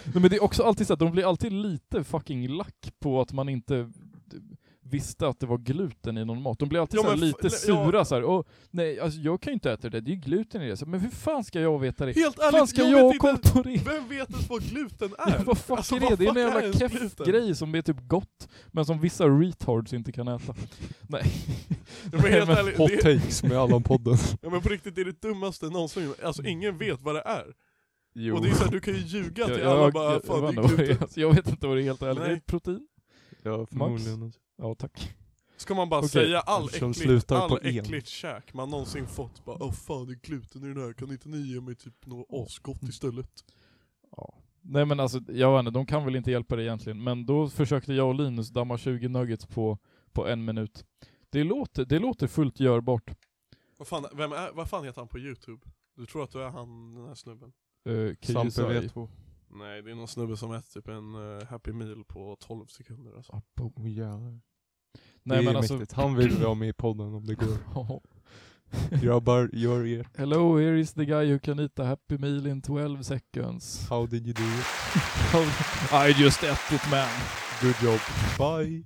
Nej, men det är också alltid så att de blir alltid lite fucking lack på att man inte d- visste att det var gluten i någon mat. De blir alltid Ja, så här men f- lite eller- ja. sura så här. Åh, nej, alltså, jag kan ju inte äta det, det är ju gluten i det. Så, men hur fan ska jag veta det? Helt Hur fan ska jag, jag vet komma inte, på det? vem vet ens vad gluten Ja, är? vad fuck Alltså, är det? vad Det är en fuck är jävla ens keff gluten? grej som är typ gott, men som vissa retards inte kan äta. Nej. Ja, men helt men ärligt, Hot det, takes med Allan-podden. ja, men på riktigt, det är det dummaste någonsin. Mm. Alltså ingen vet vad det är. jo. Och det är såhär, du kan ju ljuga till Jag- alla jag- bara jag- fan jag det vet är inte vad det gluten. är. Alltså, Jag vet inte vad det är helt ärligt. Nej. Är det protein? Ja, förmodligen. Ja, tack. Ska man bara Okej, säga all eftersom äckligt, slutar på all en. äckligt käk man någonsin fått, bara åh fan det är gluten i den här, kan inte ni ge mig typ något Mm. asgott istället? Nej men alltså, jag vet inte, de kan väl inte hjälpa dig egentligen, men då försökte jag och Linus damma 20 nuggets på, på en minut. Det låter, det låter fullt görbart. Vad fan, vem är, vad fan heter han på youtube? Du tror att du är han, den här snubben? Uh, Sampe vet på. Nej det är någon snubbe som äter typ en eh, happy meal på 12 sekunder alltså. Oh, jävlar. det Nej är men ju alltså... mäktigt. Han vill vara med i podden om det går. ja. Grabbar, gör er. Hello, here is the guy who can eat a happy meal in 12 seconds. How did you do it? I just ate it man. Good job. Bye.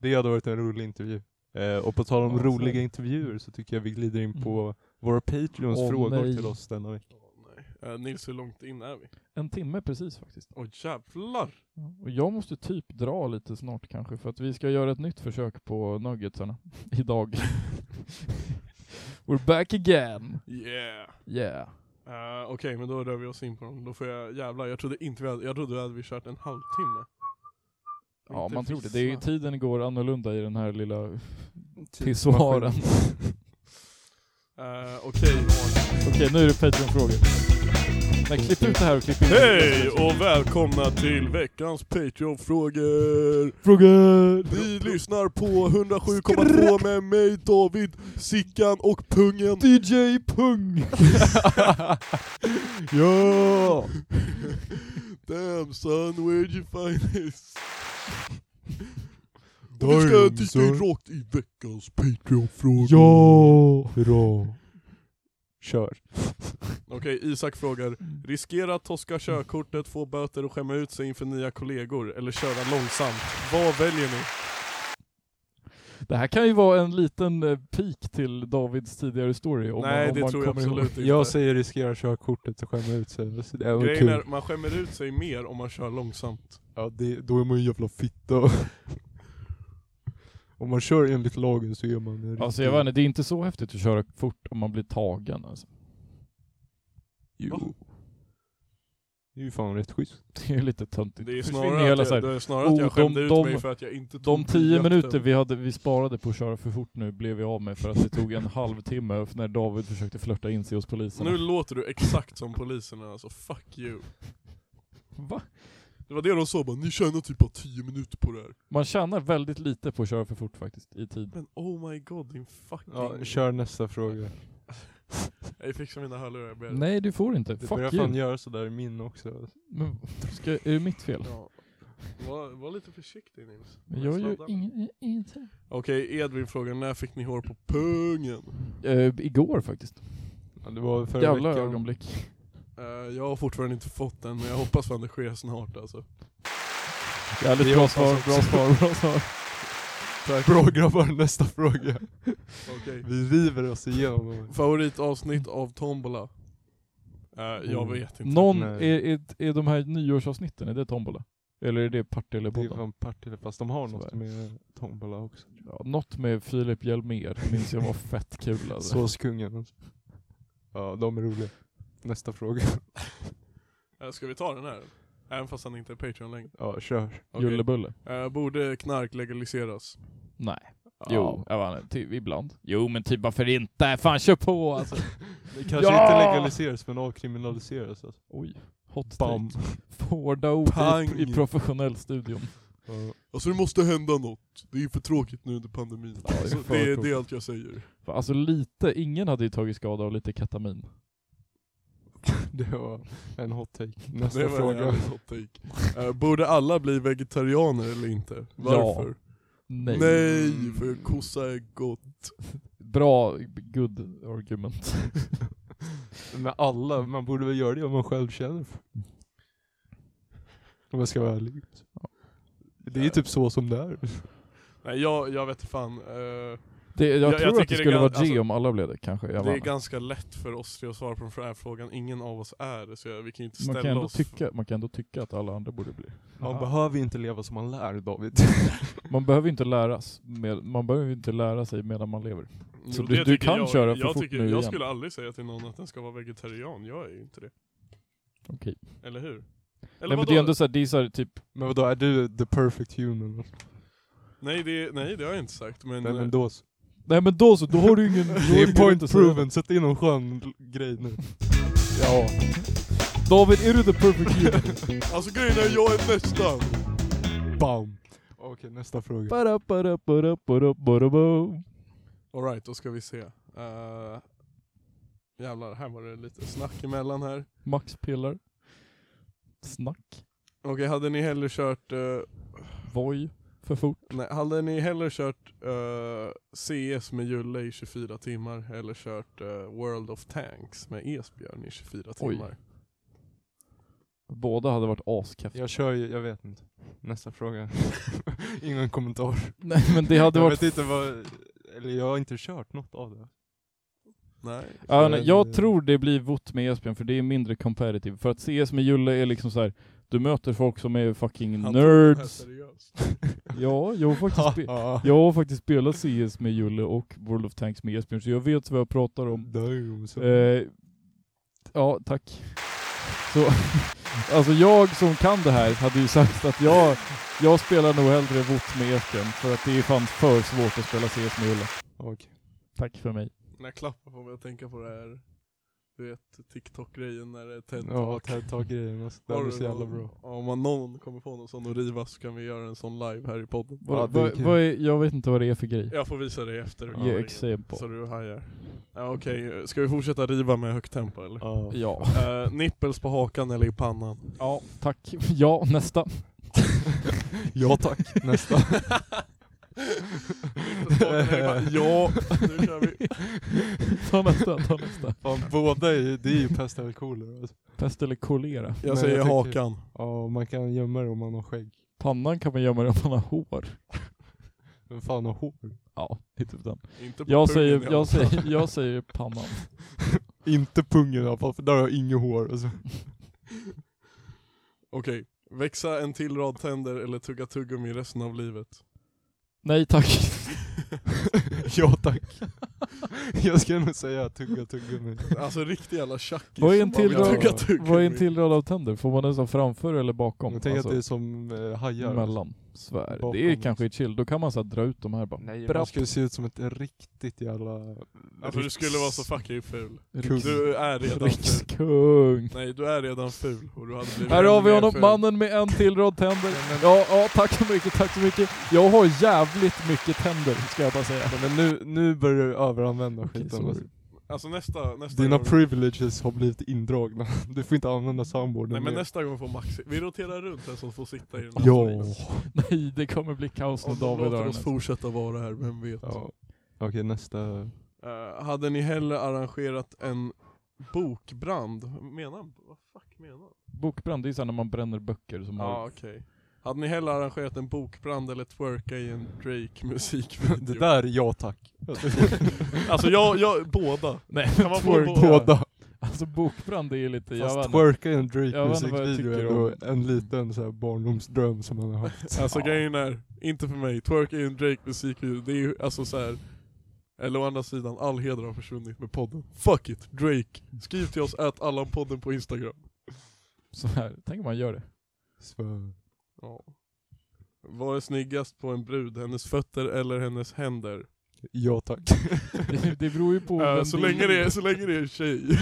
Det hade varit en rolig intervju. Eh, och på tal om Ja, roliga säkert. intervjuer så tycker jag vi glider in på Mm. våra Patreons Åh, frågor nej. till oss denna vecka. Nej. Eh, Nils hur långt in är vi? En timme precis faktiskt. Åh jävlar! Och jag måste typ dra lite snart kanske, för att vi ska göra ett nytt försök på nuggetsarna idag. We're back again. Yeah! Yeah. Eh, Okej men då rör vi oss in på dem, då får jag, jävlar jag trodde inte vi hade, jag trodde vi hade vi kört en halvtimme. Ja, Inte man tror det. fy det är, fan. tiden går annorlunda i den här lilla Typ. pissoaren. Eh, Okej. Okej, nu är det Patreon-frågor. Nej, klipp ut det här och klipp in Hej och välkomna till veckans Patreon-frågor! Frågor! Ni lyssnar på 107,2 med mig David, Sickan och Pungen. DJ Pung! ja! Damn son, where'd you find this? Och vi ska dyka in rakt i veckans Patreon-frågor. Ja! Hurra! Kör. Okej, Isak frågar. Riskera att torska körkortet, få böter och skämma ut sig inför nya kollegor, eller köra långsamt. Vad väljer ni? Det här kan ju vara en liten eh, peak till Davids tidigare story. Om man, Nej, om det man tror jag kommer ihåg. absolut inte. Jag säger riskera körkortet och skämma ut sig. Så Det var Grejen kul. är, man skämmer ut sig mer om man kör långsamt. Ja, det, då är man ju jävla fitta. Om man kör enligt lagen så är man en Alltså jag vet inte, det är inte så häftigt att köra fort om man blir tagen alltså. Va? Jo. Det är ju fan rätt schysst. Det är ju lite töntigt. Det är ju Försvinner snarare, hela att så här- jag, det är snarare att oh, jag skämde de- ut de- mig för att jag inte tog De tio biljakten. minuter vi, hade, vi sparade på att köra för fort nu blev vi av med för att det tog en halvtimme när David försökte flörta in sig hos polisen. Nu låter du exakt som poliserna alltså, fuck you. Va? Det var det de sa bara, ni tjänar typ bara 10 minuter på det här. Man tjänar väldigt lite på att köra för fort faktiskt, i tid. Men oh my god din fucking... Ja, kör nästa fråga. Jag fixar mina hörlurar, jag ber. Nej du får inte, Det börjar fuck fan you. göra sådär i min också. Men, ska, är det mitt fel? Ja. Var, var lite försiktig Nils. Men jag gör Sladda. ing- ingenting. Okej Edvin frågar, när fick ni hår på pungen? Eh, igår faktiskt. Ja, Det var förra Jävla veckan. ögonblick. Eh, jag har fortfarande inte fått den, men jag hoppas fan det sker snart alltså. Jävligt bra svar, bra svar, bra svar. Tack. Bra grabbar, nästa fråga. Okej. Vi river oss igenom dem. Favoritavsnitt av Tombola? Eh, jag Oh. vet inte. Någon, är, Nej. är, är de här nyårsavsnitten, är det Tombola? Eller är det Det är Partille-podden? fan Partille, fast de har något Sådär. med tombola också. Ja, något med Filip Hjelmér minns jag var fett kul alltså. Såskungen. alltså. Ja, de är roliga. Nästa fråga. Eh, ska vi ta den här? Även fast han inte är Patreon längre. Ja, kör. Okej. Jullebulle? Eh, borde knark legaliseras? Nej. Ja. Jo, jag vet inte, typ, ibland. Jo men typ varför inte? Fan kör på alltså. Det kanske Ja! inte legaliseras men avkriminaliseras alltså. Oj, hot Bam. take. Hårda ord Pang. i, i professionell studion. Alltså det måste hända något. Det är ju för tråkigt nu under pandemin. Ja, det är alltså, för det, är, det tråkigt. är allt jag säger. För Alltså lite, ingen hade ju tagit skada av lite ketamin. Det var en hot take. Nästa det var en fråga. jävligt hot take. Eh, borde alla bli vegetarianer eller inte? Varför? Nej. Nej, för kossa är gott. Bra, good argument. Men alla, man borde väl göra det om man själv känner för Om jag ska vara ärlig. Det är ju typ så som det är. Nej jag, jag vet fan. Eh, Det, jag, Jag- jag tror att det tycker det skulle gan- vara G alltså- om alla blev det kanske. Jag det är vann. ganska lätt för oss tre att svara på den här frågan. Ingen av oss är det, så jag- vi kan ju inte man, kan ställa ändå oss. tycka, man kan ändå tycka att alla andra borde bli. Man Ja. behöver inte leva som man lär David. Man behöver ju inte läras. Med, man behöver ju inte lära sig medan man lever. Jo, Så det du- du tycker kan jag, köra för jag fort tycker, nu Jag igen. skulle aldrig säga till någon att den ska vara vegetarian. Jag är ju inte det. Okej. Eller hur? Eller Nej men vadå? det är ändå såhär, det är såhär typ, Men vadå, är du the perfect human? nej, det, nej, det har jag inte sagt. Men, eh, Nej men då så. nej men då så, då har du ingen... då har Det du är point inte så- proven, sätt in någon skön l- grej nu. Ja. David, är du the perfect human? Alltså grejen är, jag är nästan. Bam! Okej, nästa fråga. Bara, bara, bara, bara, bara, bara. Alright, då ska vi se. Uh, jävlar, här var det lite snack emellan här. Max pillar. Snack. Okej, hade ni hellre kört... eh, Voi. För fort. nej, hade ni hellre kört eh, CS med Julle i 24 timmar eller kört eh, World of Tanks med Esbjörn i 24 Oj. timmar? Båda hade varit askeffa. Jag kör ju, jag vet inte. Nästa fråga. Ingen kommentar. Nej men det hade jag varit... vet inte vad, eller jag har inte kört något av det. Nej. Ja, Så nej, är jag det- tror det blir vott med Esbjörn för det är mindre competitive. För att CS med Julle är liksom så här. du möter folk som är fucking Han tog det här nerds. seriöst. Ja, jag har faktiskt, spe- Ah, jag har faktiskt spelat CS med Julle och World of Tanks med Esbjörn så jag vet vad jag pratar om. Damn, så. Eh, ja, tack. Så, alltså jag som kan det här hade ju sagt att jag, jag spelar nog hellre vott med Esbjörn för att det är fan för svårt att spela CS med Julle. Okej. Tack för mig. När jag klappar på mig och tänker på det här, du vet TikTok-grejen när det är TED Ja, Talk. TED-talk-grejen. alltså, Den är så jävla bra. Ja, Om man någon kommer på någon sån och riva så kan vi göra en sån live här i podden. Vad, Ja, det är vad, kul. vad är, jag vet inte vad det är för grej. Jag får visa dig efter. Ge E Ja, exempel. Så du hajar. Ja, Okej, ska vi fortsätta riva med högt tempo eller? Ja. Ja. Eh, nippels på hakan eller i pannan? ja, tack. Ja, nästa. ja tack, nästa. Nippels på hakan eller i pannan? Ja, nu kör vi. Ta nästa, ta nästa. Fan, båda är ju, det är ju pest eller kolera. alltså. Pest eller kolera. Jag Men säger jag tycker- hakan. Ja, man kan gömma det om man har skägg. Pannan kan man gömma om man har hår. Men fan har hår? Ja, det är typ den. Inte på Jag pungen säger, i alla jag fall. säger, jag säger pannan. Inte pungen i alla fall, för där har jag inget hår. Alltså. Okej, växa en till rad tänder eller tugga tuggummi resten av livet? Nej tack. ja tack. jag ska nog säga tugga tuggummi. Alltså riktig jävla tjackis. Vad är som en bara till vill rad- tugga tuggummi. Vad är en till rad av tänder? Får man den som framför eller bakom? Jag tänker Alltså, att det är som eh, hajar. mellan. Svär. Bakom, det är liksom. kanske chill. Då kan man så här dra ut de här bara. Nej, Bra. man skulle se ut som ett riktigt jävla... Alltså du skulle vara så fucking ful. Kung. Du är redan ful. Rikskung. Nej du är redan ful och du hade blivit Här har ännu vi mer honom, ful. mannen med en till rad tänder. Ja, ja, tack så mycket, tack så mycket. Jag har jävligt mycket tänder, ska jag bara säga. Men nu, nu börjar du överanvända Okej, skiten. sorry. alltså. Alltså nästa, nästa Dina gång- privileges har blivit indragna. Du får inte använda soundboarden Nej men mer. nästa gång får Max, vi roterar runt vem som får sitta i den här Ja. stolen. Nej, det kommer bli kaos när Om de David har låter den. oss fortsätta vara här, vem vet. ja. Okej nästa. Eh, hade ni hellre arrangerat en bokbrand? Menar han? Vad fuck menar han? Bokbrand, det är såhär när man bränner böcker som Ja har... okej. Hade ni hellre arrangerat en bokbrand eller twerka i en Drake Det musikvideo? där är ja tack. alltså jag, jag, båda. Nej, Kan man få twerk- båda? Båda. Alltså bokbrand det är lite, jag vet Fast inte. twerka i en jag vet inte vad jag Drake-musikvideo är tycker ändå en liten så här barndomsdröm som man har haft. Alltså Ja. grejen är, inte för mig, twerka i en Drake musikvideo, det är ju alltså så här. Eller å andra sidan, all heder har försvunnit med podden. Fuck it, Drake. Skriv till oss att Allan-podden på Instagram. Så här, tänk om man gör det. Så, Ja. Vad är snyggast på en brud, hennes fötter eller hennes händer? ja tack. Det, det beror ju på Eh, vem så, det länge det är, så länge det är en tjej.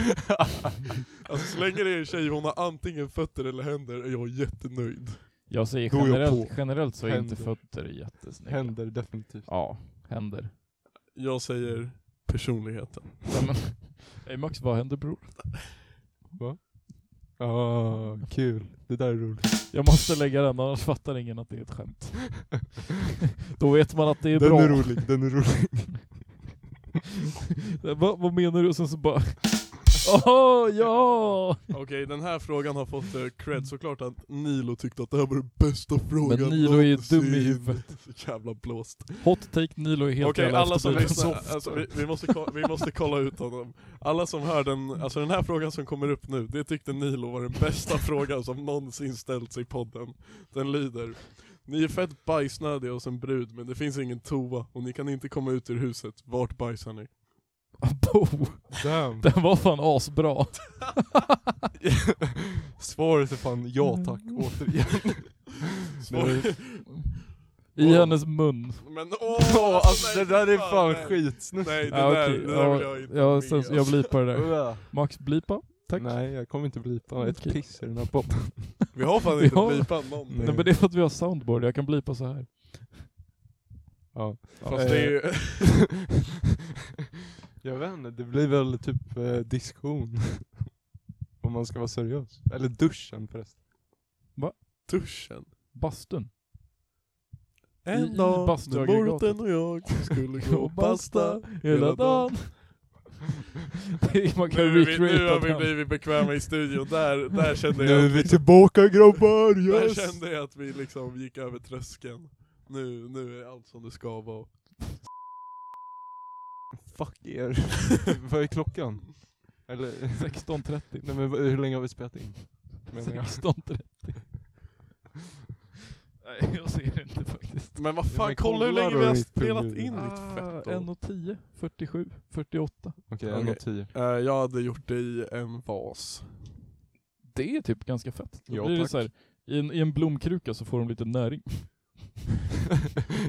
alltså så länge det är en tjej, hon har antingen fötter eller händer, är jag jättenöjd. Jag säger Då är jag generellt, på. generellt så är inte Händer. fötter jättesnygga. Händer definitivt. Ja, händer. Jag säger personligheten. Nej, men, hey Max, vad händer bror? Ah, kul. Det där är roligt. Jag måste lägga den, annars fattar ingen att det är ett skämt. Då vet man att det är den bra. är rolig, den är rolig. Va, vad menar du? Och sen så bara... Åh, ja! Okej, den här frågan har fått eh, cred såklart att Nilo tyckte att det här var den bästa frågan Men Nilo är ju någonsin. dum i huvudet. Så jävla blåst. Hot take Nilo är helt Okej, jävla alla som efterbliven. lyssnar, alltså, vi, vi, måste ko- vi måste kolla ut honom. Alla som hör den, alltså den här frågan som kommer upp nu, det tyckte Nilo var den bästa frågan som någonsin ställts i podden. Den lyder Ni är fett bajsnödiga hos en brud men det finns ingen toa och ni kan inte komma ut ur huset, vart bajsar ni? Bo, Damn. den var fan asbra. Svaret är fan ja tack Mm. återigen. Svår- I Åh. hennes mun. Men Åh, åh! alltså det där är fan nej. skitsnusk. Nej det Ja, där, okej. det där vill Ja, jag inte ja, med sen, alltså. jag blipar det där. Äh. Max, blipa. Tack. Nej jag kommer inte blipa ett Okej. piss i den här podden. Vi har fan Vi inte har- blipat någon. Nej. Nej men det är för att vi har soundboard, jag kan blipa så här. Ja. Fast det är ju... Jag vet inte, det blir väl typ eh, diskussion. Om man ska vara seriös. Eller duschen förresten. Duschen. Bastun. I- En i dag när bastuaggregatet. Morten och jag skulle gå och basta hela dagen. Det är- Man kan Nu, är vi, nu recreata har vi den. blivit bekväma i studion, där, där kände Nu är jag vi tillbaka grabbar! där Yes! kände jag att vi liksom gick över tröskeln. Nu, nu är allt som det ska vara. Fuck er. Vad är klockan? Eller, 16.30. nej men vad- hur länge har vi spelat in? Menar jag. 16.30. Nej jag ser det inte faktiskt. Men vad Ja, fan, men kolla hur kolla länge då vi har ditt spelat pungdjur. in ditt Ah, fett då. 1.10, 47, 48. Okej, Okej. en och tio. Eh, Jag hade gjort det i en vas. Det är typ ganska fett. Då Ja, blir det tack. så här, i, en, I en blomkruka så får de lite näring.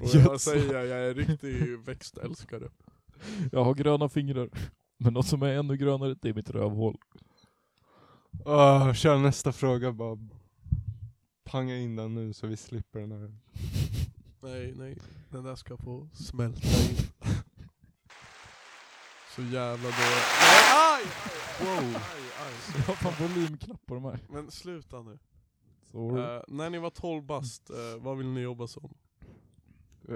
Och Gödsla. jag säger, jag är en riktig växtälskare. Jag har gröna fingrar. Men något som är ännu grönare, det är mitt rövhål. Ah, kör nästa fråga bara. Panga in den nu så vi slipper den här. Nej, nej. Den där ska få smälta in. Så jävla dåligt. Nej, aj! Wow. Aj, aj. Jag har fan volymknapp på de här. Men sluta nu. Sorry. Eh, när ni var 12 bast, eh, vad ville ni jobba som? Eh,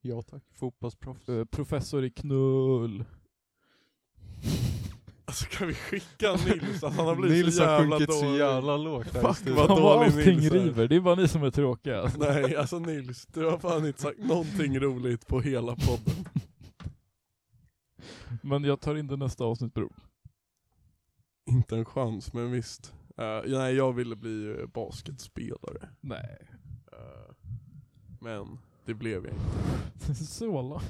ja tack. Fotbollsproffs. Eh, professor i knull. Alltså kan vi skicka Nils? Att han har blivit Nils så har jävla sjunkit så dålig. jävla lågt här i Fuck, studion. Vad Fan vad dålig allting Nils är. river, det är bara ni som är tråkiga. alltså. Nej, alltså Nils, du har fan inte sagt någonting roligt på hela podden. Men jag tar in det nästa avsnitt bror. Inte en chans, men visst. Eh, nej, jag ville bli eh, basketspelare. Nej. Eh, men det blev jag inte. Såla.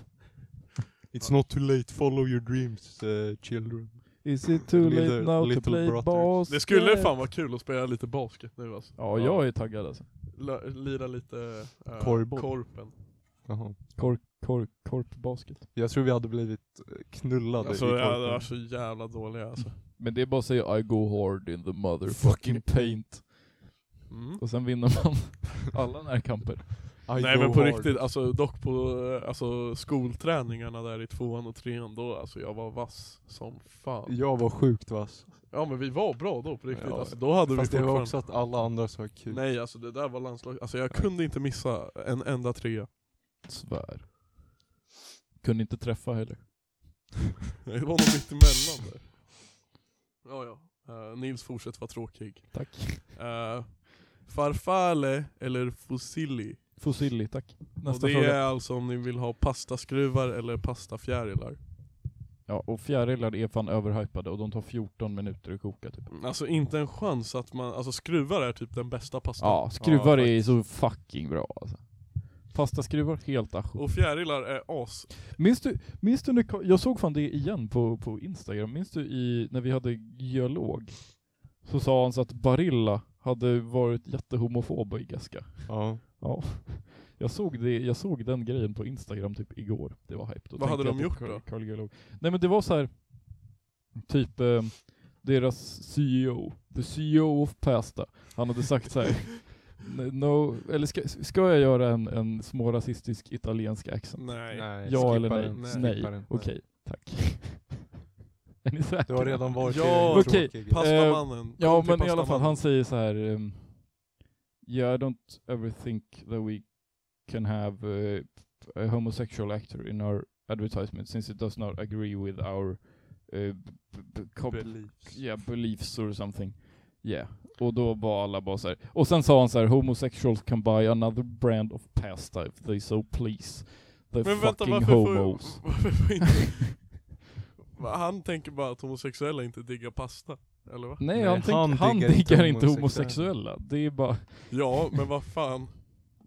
It's not too late, follow your dreams eh, children. Is it too Little- late now to little play brothers. basket? Det skulle fan vara kul att spela lite basket nu alltså. Ja, jag är taggad alltså. L- lira lite eh, Korvboll. korpen. Jaha. Kork, kork, korpbasket. Jag tror vi hade blivit eh, knullade Alltså i jag korpen. är så jävla dålig alltså. Men det är bara att säga I go hard in the motherfucking paint. Mm. Och sen vinner man alla närkamper. I Nej go men på hard. riktigt, alltså dock på eh, alltså, skolträningarna där i tvåan och trean då, alltså jag var vass som fan. Jag var sjukt vass. Ja men vi var bra då på riktigt, Ja. alltså, då hade Fast vi det var fortfarande... också att alla andra sa kul. Nej alltså det där var landslag, alltså jag kunde inte missa en enda trea. Svär. Kunde inte träffa heller. Det var nog mittemellan där. Ja ja, Eh, Nils fortsätt vara tråkig. Tack. Uh, farfalle eller fusilli? Fossilli, tack. Nästa och det fråga. är alltså om ni vill ha pastaskruvar eller pastafjärilar. Ja, och fjärilar är fan överhypade och de tar 14 minuter att koka typ. Alltså inte en chans att man, alltså skruvar är typ den bästa pastan. Ja, skruvar Ja, är så fucking bra alltså. Pastaskruvar, helt ajour. Och fjärilar är as. Minns du, minns du när, Ka- jag såg fan det igen på, på Instagram, minns du i, när vi hade geolog? Så sa han så att Barilla hade varit jättehomofoba i Gaska. Ja. Ja. Jag såg, det, jag såg den grejen på Instagram typ igår, det var hype. Då Vad hade tänkte de jag på gjort Carl- då? Carl geolog. Nej men det var så här typ, eh, deras CEO, the CEO of Pasta, han hade sagt så här. "N- No, eller ska, ska jag göra en, en smårasistisk italiensk accent? Nej. ja skippa eller nej? den, Nej. skippa nej. den. Okej, tack. är ni säkra? Du har redan varit Ja, i okej. tråkig. Pastamannen. Eh, Ja Kom till men i alla fall, pastamannen. han säger så här. ehm, yeah, I don't ever think that we can have eh, a homosexual actor in our advertisement since it does not agree with our eh, b- b- cop- Beliefs. yeah, beliefs or something. Yeah. Och då var alla bara så här. Och sen sa han så här, homosexuals can buy another brand of pasta if they so please. The Men vänta, fucking varför homos. får, varför får inte... Va, Han tänker bara att homosexuella inte diggar pasta, eller va? Nej, Nej, han, tänk, han han, diggar inte diggar inte homosexuella. homosexuella. Det är bara... Ja, men vad fan.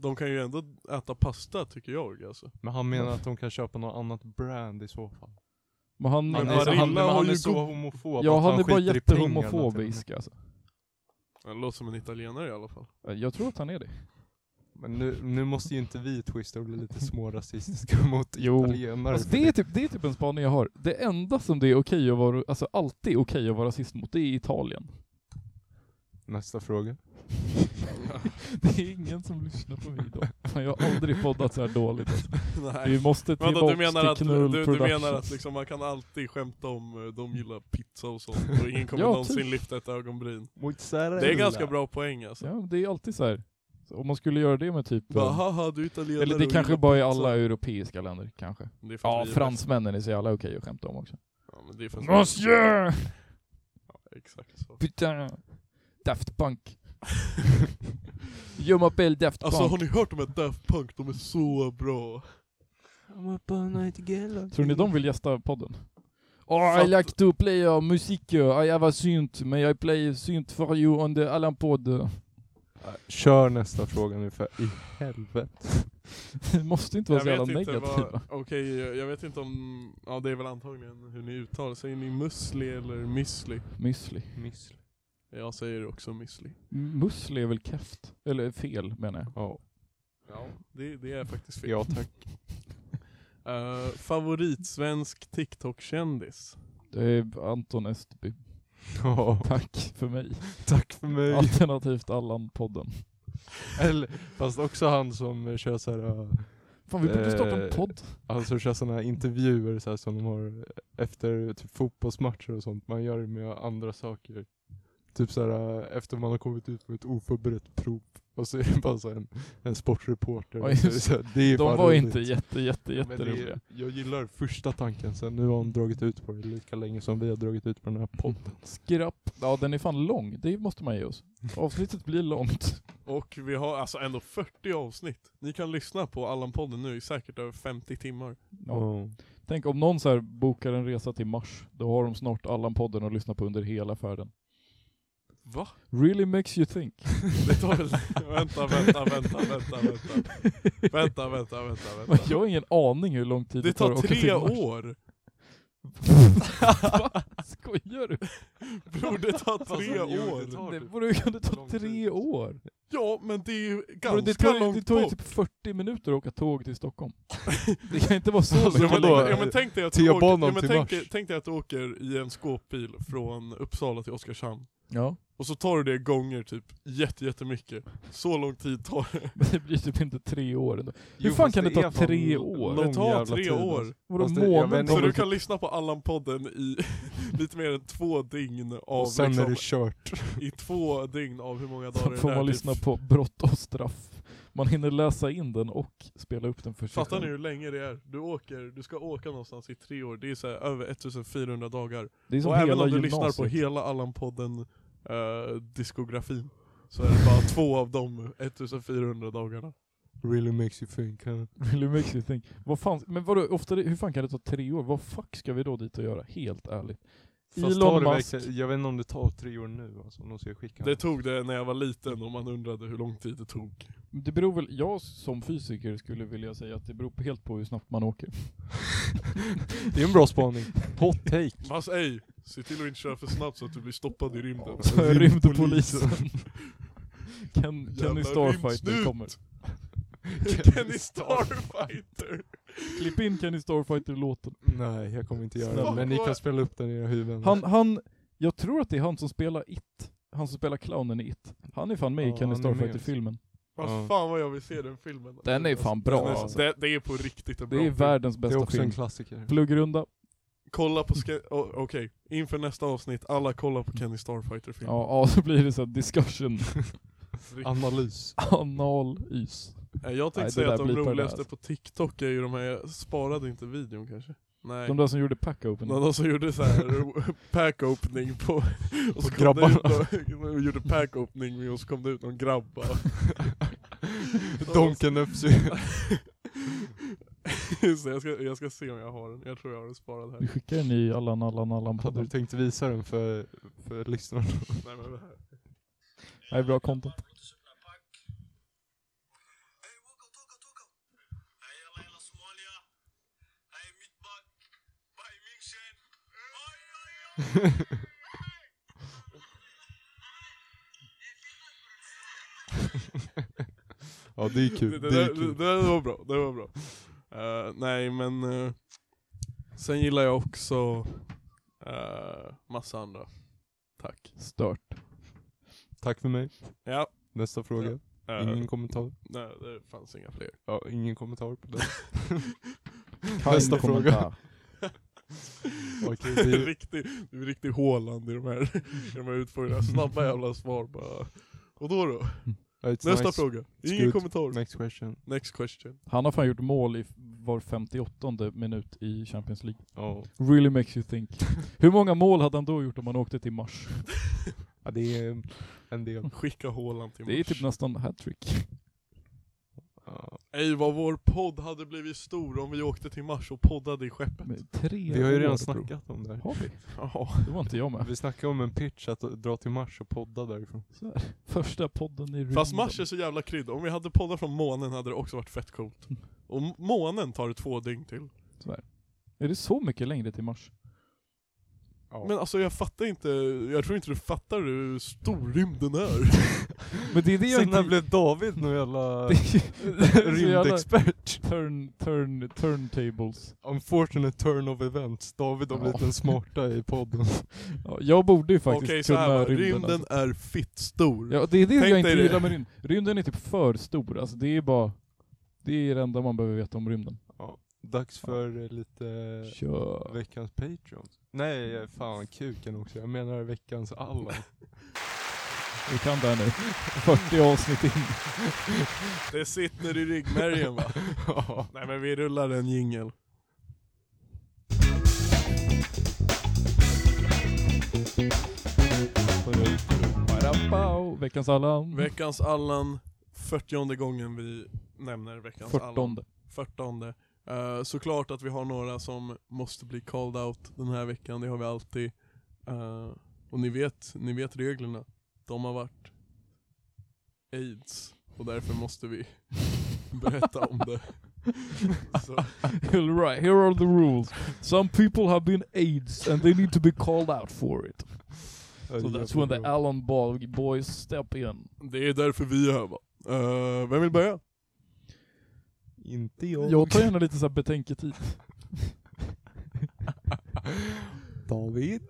De kan ju ändå äta pasta tycker jag alltså. Men han menar att de kan köpa något annat brand i så fall. Men han, Han Men är, så, han, Barilla men har han är ju så god- homofob Ja, att han är bara skiter i pengarna till och med. jättehomofobisk alltså. Han låter som en italienare i alla fall. Jag tror att han är det. Men nu, nu måste ju inte vi twista och bli lite smårasistiska mot Jo. italienare. Alltså, det, är typ, det är typ en spaning jag har. Det enda som det är okej att vara, alltså alltid okej att vara rasist mot, det är Italien. Nästa fråga. Det är ingen som lyssnar på mig då. Fan, Jag har aldrig poddat så här dåligt. Alltså. Nej. Vi måste tillbaka Vänta, du menar att, till Knull du, du Productions. menar att liksom man kan alltid skämta om eh, de gillar pizza och sånt och ingen kommer Ja, någonsin typ. lyfta ett ögonbryn. Mozzarella. Det är ganska bra poäng alltså. Ja, det är alltid så här. Så om man skulle göra det med typ... Bara, eh, haha du är italienare eller det och kanske gillar bara är pizza." alla europeiska länder, kanske. Det är för att Ja, vi är fransmännen är så jävla okej att skämta om också. bäst. Ja, men det är för att- Monsieur! Ja, Exakt så. Putain! Daft Punk. Je m'appelle Daft Punk. Alltså har ni hört om ett Daft Punk? De är så bra. Tror ni de vill gästa podden? Oh, Fatt- Mm. I like to play uh, musik, uh, I have a synth, men I play synth for you on the Allan podd. Kör nästa fråga nu för i helvete. Det måste inte vara så jävla negativa. vad, okej jag vet inte om, ja det är väl antagligen hur ni uttalar, säger ni müsli eller müsli? Müsli. Missly. Jag säger också müsli. Musli är väl keft? Eller fel menar jag. Ja. Ja. Det, det är faktiskt fel. ja tack. Eh, favoritsvensk TikTok-kändis? Det är Anton Östby. Ja, Tack för mig. tack för mig. Alternativt Allan-podden. Eller, fast också han som eh, kör så här, eh, Fan vi borde starta en Eh, podd. han som kör sådana här intervjuer så här, som de har eh, efter typ fotbollsmatcher och sånt. Man gör det med andra saker. Typ så här eh, efter man har kommit ut på ett oförberett prov. Och så är det bara så här en, en sportreporter. Ja, just Så det är så här, det är De fan var roligt. inte jätte, jätte, Men det är- jätteroliga. Jag gillar första tanken, sen nu har hon dragit ut på det lika länge som vi har dragit ut på den här podden. Skrapp. Ja den är fan lång, det måste man ge oss. Avsnittet blir långt. Och vi har alltså ändå 40 avsnitt. Ni kan lyssna på Allan-podden nu i säkert över 50 timmar. Ja. Tänk om någon så här bokar en resa till Mars, då har de snart Allan-podden att lyssna på under hela färden. Va? Really makes you think. Det tar väl... vänta, vänta, vänta, vänta, vänta. Vänta, vänta, vänta, Men vänta. Jag har ingen aning hur lång tid det, Det tar att åka till tre Mars. år! Va? Skojar du? Bror det tar Alltså, tre jo, det år! tar- Det du? borde ju Hur ta lång tre tid? år. Ja men det är ju Bro, ganska det tar, långt ju- det tar ju bort. typ 40 minuter att åka tåg till Stockholm. Det kan inte vara så Alltså, Ja, mycket men, Vadå? längre. ja, men tänk dig att du åker, T-banan ja, men till tänk, Mars. tänk dig att du åker i en skåpbil från Uppsala till Oskarshamn. Ja, Och så tar du det gånger typ jätte, jättemycket. Så lång tid tar det. men det blir typ inte tre år ändå. Jo, Hur fan fast kan det ta är fan tre år? Det lång tar jävla tre tid, år. alltså. Vadå Fast det- jag vet månader? inte Så om du det- kan lyssna på Allan-podden i lite mer än två dygn av Och sen är liksom, det kört. i två dygn av hur många dagar Sen det får är man typ. lyssna på brott och straff. Man hinner läsa in den och spela upp den för sig Fattar ni själv. hur länge det är? Du åker, du ska åka någonstans i tre år, det är så här över 1400 dagar. Det är som Och hela även om du gymnasiet. lyssnar på hela Allan-podden eh, diskografin så är det bara två av de 1400 dagarna. Really makes you think. Huh? Really makes you think. Vad fan, men vadå, ofta det, hur fan kan det ta tre år? Vad fuck ska vi då dit och göra? Helt ärligt. Fast tar Elon det Musk. verkligen- Jag vet inte om det tar tre år nu alltså, om de ska skicka Det tog det när jag var liten och man undrade hur lång tid det tog. Det beror väl, jag som fysiker skulle vilja säga att det beror på- helt på hur snabbt man åker. det är en bra spaning. Hot take. Fast ej, se till att inte köra för snabbt så att du blir stoppad i rymden. Rymdpolisen. Ken- Kenny Jävla Starfighter rymdsnut. kommer. Kenny Starfighter! Klipp in Kenny Starfighter-låten. Nej, jag kommer inte göra det. Men ni kan spela upp den i era huvuden. Han, han, Jag tror att det är han som spelar It. Han som spelar clownen i It. Han är fan med Ja, i Kenny han är med Starfighter-filmen. Vad Ja. fan vad jag vill se den filmen. Den är fan bra Den är så- alltså. det, det är på riktigt en bra Det är film. världens Det är bästa också film. en klassiker. Pluggrunda. Kolla på, Ske- oh, okej, inför nästa avsnitt, alla kollar på Kenny Starfighter film. Ja, ja, så blir det så här discussion. Analys. Ah, Analys. Eh, Jag tänkte Nej, det säga där att de blipar vi med, roligaste alltså. på TikTok är ju de här, jag sparade inte videon kanske. Nej. De där som gjorde pack-open. Någon som gjorde så här pack opening på... Och så På kom det ut grabbarna. någon- och gjorde pack opening och så kom det ut någon grabb bara. Donken FC. så jag, ska, jag ska se om jag har den, jag tror jag har den sparad här. Vi skickar den i Allan Allan Allan Hade du podden. tänkt visa den för, för lyssnarna? Nej, men det här. Det här är bra content. Ja det är Det, kul. det, Det är där- det, kul. det där var bra, det var bra. Eh, nej men... eh, sen gillar jag också eh, massa andra. Tack. Stört. Tack för mig. Ja. Nästa fråga. eh, Ingen kommentar. Nej det fanns inga fler. Ja, ingen kommentar på det. Kind Nästa kommentar. fråga. Okej, det är- riktig, det är riktig Håland i de här, i de här utfrågningarna. Snabba jävla svar bara. Och då då? it's Nästa nice. fråga. Ingen good. kommentar. Next question. Next question. Han har fan gjort mål i var 58 minut i Champions League. Ja. Really makes you think. Hur många mål hade han då gjort om han åkte till Mars? ja, det är en del. Skicka Håland till Det är Mars. typ nästan hattrick. Ja. Ey vad vår podd hade blivit stor om vi åkte till Mars och poddade i skeppet. Med Tre Vi har ju år, redan bro. snackat om det här. Har vi? Ja. Det var inte jag med. Vi snackade om en pitch att dra till Mars och podda därifrån. Så här. Första podden i rymden. Fast Mars är så jävla krydd. Om vi hade poddat från månen hade det också varit fett coolt. Mm. Och m- månen tar det två dygn till. Är det så mycket längre till Mars? Ja. Men alltså jag fattar inte, jag tror inte du fattar hur stor rymden är. Men det är det jag Sen när inte... blev David någon jävla Det är ju- rymdexpert? turn, turn, turntables. Unfortunate turn of events. David har Ja. blivit den smarta i podden. Ja, jag borde ju faktiskt Okej så kunna här va, rymden. rymden alltså. är fitt stor. Ja, det är det Tänk jag inte dig det. gillar med rymden. Rymden är typ för stor. Alltså det är bara... Det är det enda man behöver veta om rymden. Dags för eh, lite Kör. Mm. veckans Patreon. Nej, eh, fan kuken också. Jag menar veckans Allan. Vi kan det här nu. 40 avsnitt in. Det sitter i ryggmärgen va? Nej men vi rullar en jingel. Parapau. Veckans Allan. Veckans Allan, 40 gången vi nämner veckans Allan. 14. 14. Eh, såklart att vi har några som måste bli called out den här veckan, det har vi alltid. Eh, och ni vet, ni vet reglerna. De har varit aids och därför måste vi berätta om det. Så, All right, here are the rules. Some people have been AIDS and they need to be called out for it. So that's when the Allen boy- boys step in. det är därför vi är här va. Eh, vem vill börja? Inte jag. Jag tar gärna lite så här betänketid. David.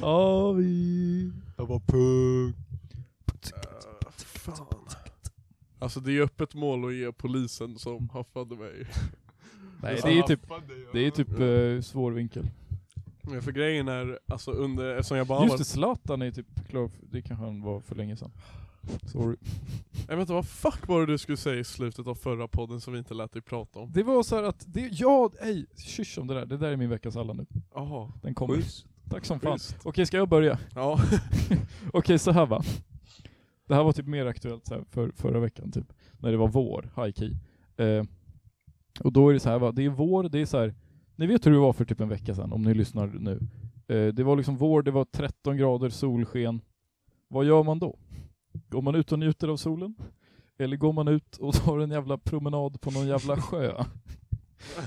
Ja, vi... Jag var pung. Eh, fan. Alltså det är öppet mål att ge polisen som haffade mig. Nej, det är typ, Haffade jag. det är typ eh, svår vinkel. Men för grejen är, alltså under, eftersom jag bara Just det, var... Zlatan är typ klar, för- det kanske han var för länge sedan. Sorry. Jag vet inte vad fuck var det du skulle säga i slutet av förra podden som vi inte lät dig prata om? Det var så här att, det, ja, ej, kyss om det där. Det där är min veckans alla nu. Jaha. Den kommer. Schysst. Tack som fan. Okej, ska jag börja? Ja. Okej, så här va. Det här var typ mer aktuellt så här för, förra veckan, typ. När det var vår, high key. Eh, och då är det så här va, det är vår, det är så här. Ni vet hur det var för typ en vecka sedan, om ni lyssnar nu. Eh, det var liksom vår, det var 13 grader, solsken. Vad gör man då? Går man ut och njuter av solen? Eller går man ut och tar en jävla promenad på någon jävla sjö?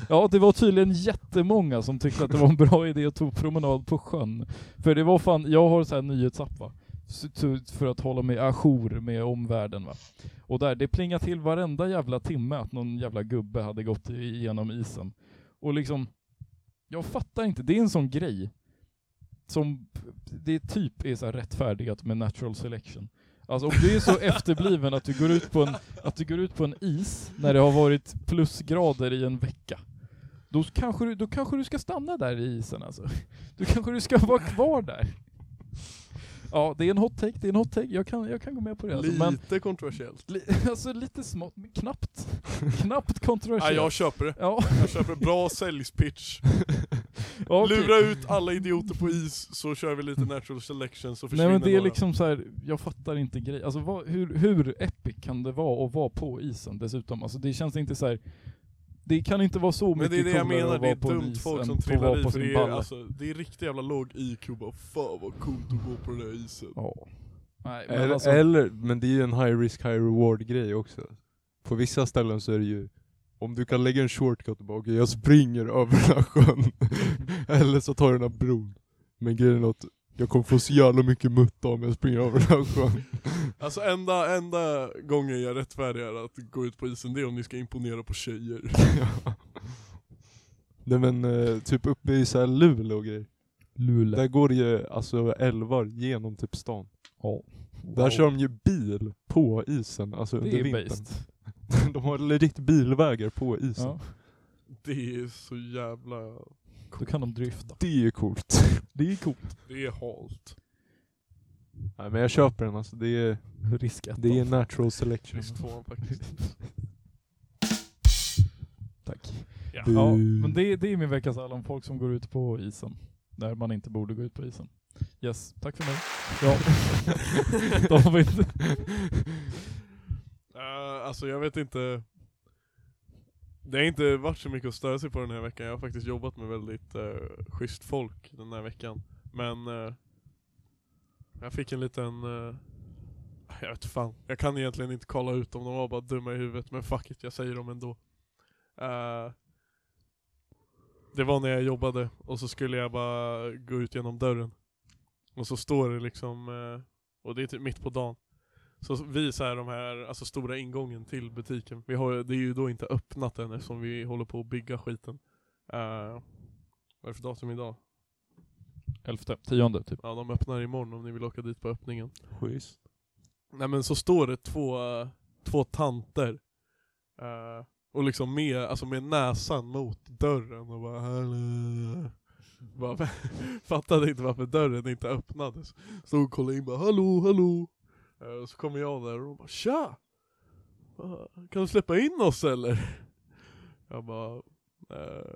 Ja, det var tydligen jättemånga som tyckte att det var en bra idé att ta promenad på sjön. För det var fan, jag har så här nyhetsapp va? Så- så- för att hålla mig ajour med omvärlden va. Och där, det plingade till varenda jävla timme att någon jävla gubbe hade gått igenom isen. Och liksom, jag fattar inte, det är en sån grej som det typ är så här rättfärdigat med natural selection. Alltså om du är så efterbliven att du, går ut på en, att du går ut på en is när det har varit plusgrader i en vecka. Då kanske, du, då kanske du ska stanna där i isen alltså. Då kanske du ska vara kvar där. Ja, det är en hot take, det är en hot take. Jag kan, jag kan gå med på det. Alltså. Men, Lite kontroversiellt. li, alltså lite smått, men knappt, knappt Nej, kontroversiellt. jag köper det. Ja, Jag köper bra säljspitch. ja, okej. Lura ut alla idioter på is så kör vi lite natural selection så Nej försvinner men det är några. liksom så här, jag fattar inte grejen. Alltså vad, hur, hur epic kan det vara att vara på isen dessutom? Alltså det känns inte så här. Det kan inte vara så Men mycket det är det jag coolare menar, att det vara är på en dumt is folk än som att få vara trillar i på för sin det är, balle. alltså, det är riktigt jävla låg IQ bara Fan vad coolt att gå på den där isen. Ja. Nej, men Eller, alltså, eller, men det är ju en high risk, high reward grej också. På vissa ställen så är det ju, om du kan lägga en shortcut och bara okej jag springer över den här sjön. eller så tar jag den här bron. Men grejen är att jag kommer få så jävla mycket mutta om jag springer över den här sjön. Alltså enda, enda gången jag rättfärdigar att gå ut på isen det är om ni ska imponera på tjejer. Ja. Nej men eh, typ uppe i så här Luleå och grejer. Luleå. Där går det ju alltså älvar genom typ stan. Ja. Där kör de ju bil på isen, alltså det under är vintern. based. De har legit bilvägar på isen. Ja. Det är så jävla... Då kan de drifta. Det är ju coolt. Det är coolt. Det är halt. Nej men jag köper den alltså, det är, Mm. Riskat. det är natural selection. Risk tvåan faktiskt. Tack. Ja. Ja, men det, det är min veckas Allan. Folk som går ut på isen. Där man inte borde gå ut på isen. Yes, tack för mig. Ja. David. Eh, alltså jag vet inte. Det har inte varit så mycket att störa sig på den här veckan. Jag har faktiskt jobbat med väldigt uh, schysst folk den här veckan. Men eh, jag fick en liten... eh, jag vet fan. Jag kan egentligen inte kolla ut om de var bara dumma i huvudet. Men fuck it, jag säger dem ändå. Eh, det var när jag jobbade och så skulle jag bara gå ut genom dörren. Och så står det liksom... eh, och det är typ mitt på dagen. Så vi så här, de här alltså stora ingången till butiken, vi har, det är ju då inte öppnat än eftersom vi håller på att bygga skiten. Eh, vad är det för datum idag? Elfte, tionde typ. Ja, de öppnar imorgon om ni vill åka dit på öppningen. Schysst. Nej men så står det två, eh, två tanter eh, och liksom med, alltså med näsan mot dörren och bara hallå. Bara, fattade inte varför dörren inte öppnades. Stod och kollade in bara hallå, hallå. Eh, och så kommer jag där och de bara tja! Va, Kan du släppa in oss eller? Jag bara eh,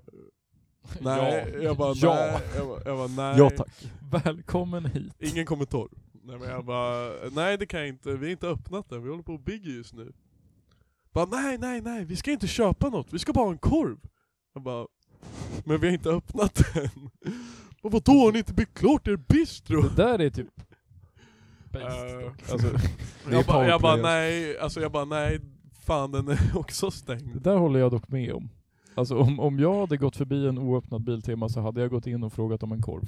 nej. Ja. Jag bara Ja. nej. Jag bara, jag bara, nej. Ja tack. Välkommen hit. Ingen kommentar. Nej men jag bara, nej det kan jag inte, vi har inte öppnat den, vi håller på och bygger just nu. Bara nej, nej, nej, vi ska inte köpa något, vi ska bara ha en korv. Jag bara, men vi har inte öppnat den. Men vadå, har ni inte byggt klart er bistro? Det där är typ... Based Eh, dock. Alltså, Det är Jag bara, jag bara powerplay, nej, alltså jag bara nej, fan den är också det stängd. där håller jag dock med om. Alltså om, om jag hade gått förbi en oöppnad Biltema så hade jag gått in och frågat om en korv.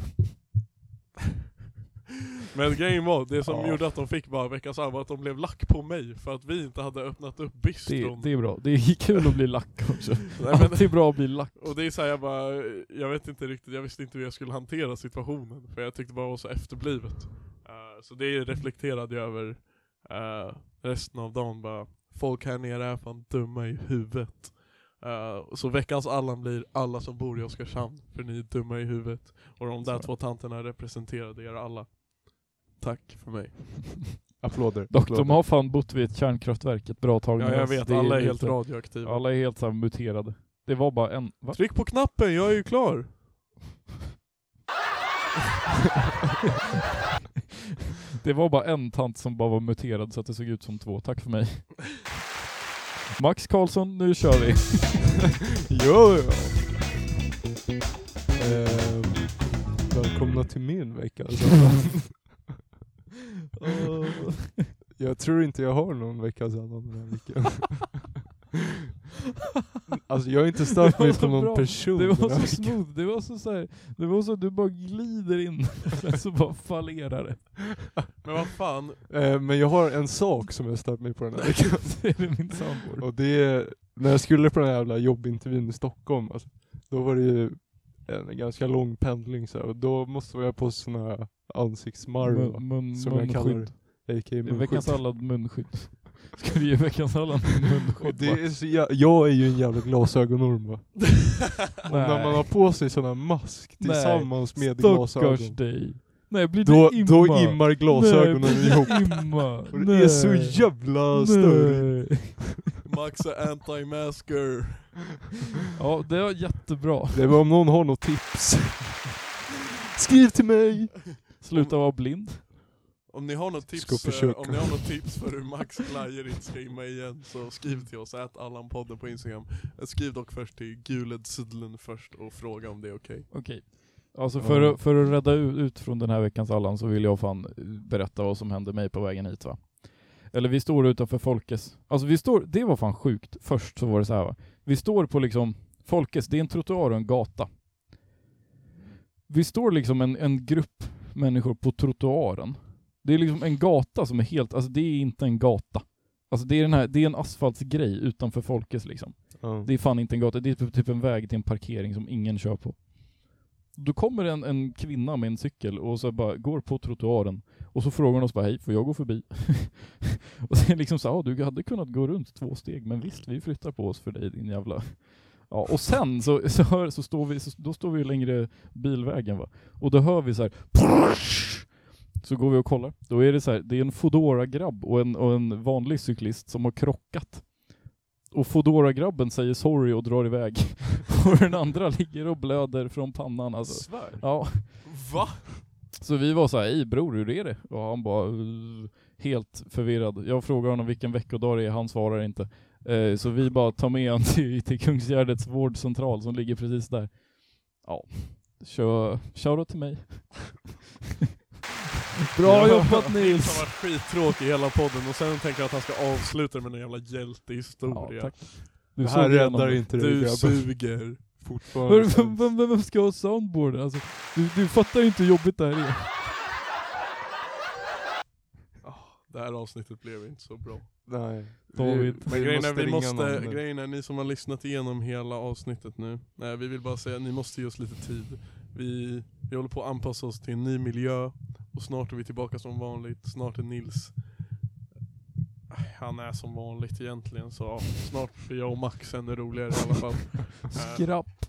Men grejen var, det som Ja. gjorde att de fick bara veckans arv var att de blev lack på mig för att vi inte hade öppnat upp Det, bistron. det är bra. Det är kul att bli lack också. Nej, men- Alltid bra att bli lack. Och det är såhär jag bara, jag vet inte riktigt, jag visste inte hur jag skulle hantera situationen. För jag tyckte bara det var så efterblivet. Eh, så det reflekterade jag över eh, resten av dagen bara. Folk här nere är fan dumma i huvudet. Eh, så veckans Allan blir alla som bor i Oskarshamn, för ni är dumma i huvudet. Och de där Så. två tanterna representerade er alla. Tack för mig. Applåder. Dock, applåder. de har fan bott vid ett kärnkraftverk ett bra tag Ja nu, jag alltså. vet, Det alla är lite- helt Typ. radioaktiva. Alla är helt så här muterade. Det var bara en... Va? Tryck på knappen, jag är ju klar! Det var bara en tant som bara var muterad så att det såg ut som två. Tack för mig. Max Karlsson, nu kör vi. Jo, jo. Ehm, välkomna till min vecka. Alltså. Oh, Åh, jag tror inte jag har någon vecka sedan den här veckan. alltså jag har inte stört Det var mig så på någon bra. person alltså. Det den var här så veckan. smooth, det var så, så här, det var så att du bara glider in sen så bara fallerar det. Men vad fan, Eh, Men jag har en sak som jag har stört mig på den här veckan. Det är det min sambo. Och det är, när jag skulle på den här jävla jobbintervjun i Stockholm, alltså, då var det ju en ganska lång pendling så här, och då måste jag på såna här ansiktsmarv Mun, va? mun, som jag kallar munskydd. det. A.k.a. Det är Veckans munskydd. sallad munskydd. Ska vi ge veckans sallad Och munskydd? det va? är så, jag, jag är ju en jävla glasögonorm va? Och när Nej. man har på sig sån här mask Nej. tillsammans med Stackars glasögon. dig. Nej, blir det Då, imma? då immar glasögonen Nej, ihop. Imma. Och det är så Nej. jävla störigt. Nej. Max är anti-masker. Ja, det var jättebra. Det var om någon har något tips. Skriv till mig! Sluta vara blind. Om ni har något Ska tips, eh, försöka. om ni har något tips för hur Max Flyer inte ska imma igen så skriv till oss, ät Allan-podden på Instagram. Eh, Skriv dock först till Guled Sudlen först och fråga om det är okej. Okej. Alltså för, Ja. att, för att rädda u- ut från den här veckans Allan så vill jag fan eh, berätta vad som hände mig på vägen hit va. Eller vi står utanför Folkes. Alltså vi står, det var fan sjukt. Först så var det så här va. Vi står på liksom Folkes, det är en trottoar och en gata. Vi står liksom en, en grupp människor på trottoaren. Det är liksom en gata som är helt, alltså det är inte en gata. Alltså det är den här, det är en asfaltsgrej utanför Folkes liksom. Det är fan inte en gata, det är typ- typ en väg till en parkering som ingen kör på. Då kommer en, en kvinna med en cykel och så bara går på trottoaren och så frågar hon oss bara hej, får jag gå förbi? och sen liksom så här, "Ja, du hade kunnat gå runt två steg, men visst vi flyttar på oss för dig din jävla... Ja, och sen så, så, hör, så står vi, så, då står vi längre bilvägen va, och då hör vi så här så går vi och kollar. Då är det så här, det är en Foodora-grabb och en, och en vanlig cyklist som har krockat. Och Foodora-grabben säger sorry och drar iväg. och den andra ligger och blöder från pannan alltså. Svär? Ja, Va? så vi var så här, ej bror hur är det? Och han bara, "Uh," helt förvirrad. Jag frågar honom vilken veckodag det är, han svarar inte. Eh, så vi bara tar med honom till, till Kungsgärdets vårdcentral som ligger precis där. Ja, kör, shoutout till mig. Bra jobbat Nils har Nils! varit skittråkig i hela podden och sen tänker jag att han ska avsluta med en jävla Ja, hjältehistoria. tack. Du det såg här igenom räddar det. inte dig du grabbar. suger. Fortfarande. Hör, vem, vem, vem ska ha soundboarden? Alltså, du, du fattar inte hur jobbigt det här är. Det här avsnittet blev inte så bra. Nej. David. Men grejen är, vi ringa måste, någon. grejen är, ni som har lyssnat igenom hela avsnittet nu, nej, vi vill bara säga att ni måste ge oss lite tid. Vi, vi håller på att anpassa oss till en ny miljö och snart är vi tillbaka som vanligt. Snart är Nils, han är som vanligt egentligen så ja, snart blir jag och Max ännu roligare i alla fall. Eh, Skrapp.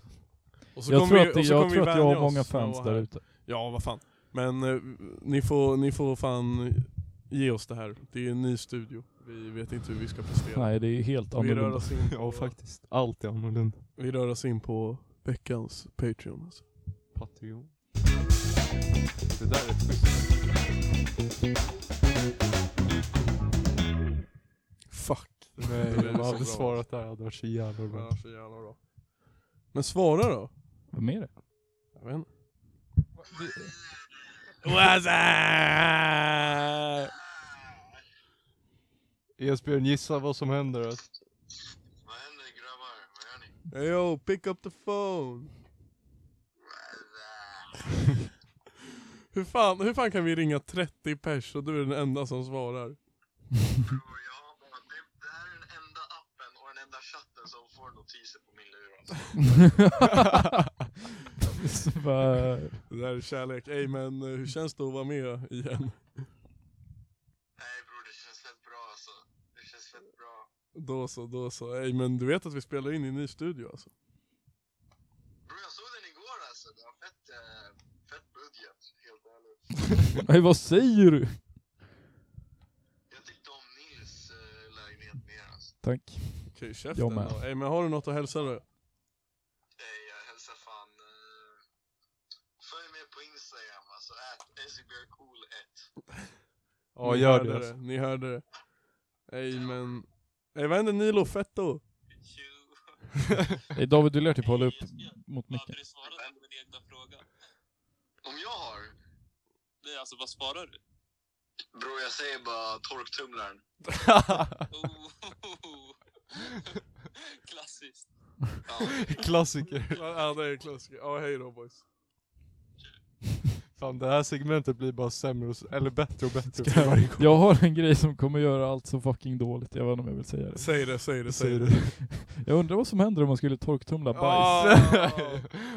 Och så Jag kommer tror vi- att, det- och så jag, kommer vi tror att jag vänja har många oss med fans att vara där här. ute. Ja, vad fan. Men eh, ni, får, ni får fan ge oss det här. Det är en ny studio. Vi vet inte hur vi ska prestera. Nej, det är helt vi, rör annorlunda. oss in Ja på, faktiskt. Allt är annorlunda. vi rör oss in på veckans Patreon. Alltså. Patreon. Det där är schysst. Fuck. Nej, Det är om jag så hade bra. svarat där hade det varit så jävla Det bra. var så jävla bra. Men svara då. Vem är det? Jag vet inte. Esbjörn, gissa vad som händer. alltså. Vad händer grabbar? Vad gör ni? Hey, yo, pick up the phone. hur, fan, hur fan kan vi ringa 30 pers och du är den enda som svarar? Bror, jag har bara... Det, det här är den enda appen och den enda chatten som får notiser på min lur alltså. Svär. Det där är kärlek. Ey men eh, hur känns det att vara med igen? Nej bror, det känns fett bra alltså. Det känns fett bra. Då så, då så. Ey men du vet att vi spelar in i en ny studio alltså? Bror, jag såg den igår alltså. Det var fett, eh, fett budget, helt ärligt. Nej, vad säger du? Jag tyckte om Nils eh, lägenhet mer alltså. Tack. Okej, käften Jag med. då. Ey men har du något att hälsa då? Ey, jag hälsar fan... Eh, följ med på Instagram alltså, at easybearcool1. Ja, Ni gör hörde det, alltså. Ni hörde det. Ey men... Ey vad hände Nilo Fetto? Nej, David, du lär typ hålla upp mot micken. Hade du svarat på din egna fråga? Om jag har? Nej, alltså vad svarar du? Bror, jag säger bara torktumlaren. Oh, Klassiskt. Ja. Klassiker. Ja det är klassiker. Ja hej då boys. Fan det här segmentet blir bara sämre och, s- eller bättre och bättre för varje gång. Jag har en grej som kommer göra allt så fucking dåligt, jag vet inte om jag vill säga det. Säg det, säg det, säg Säger det. du. Jag undrar vad som händer om man skulle torktumla bajs. Ah,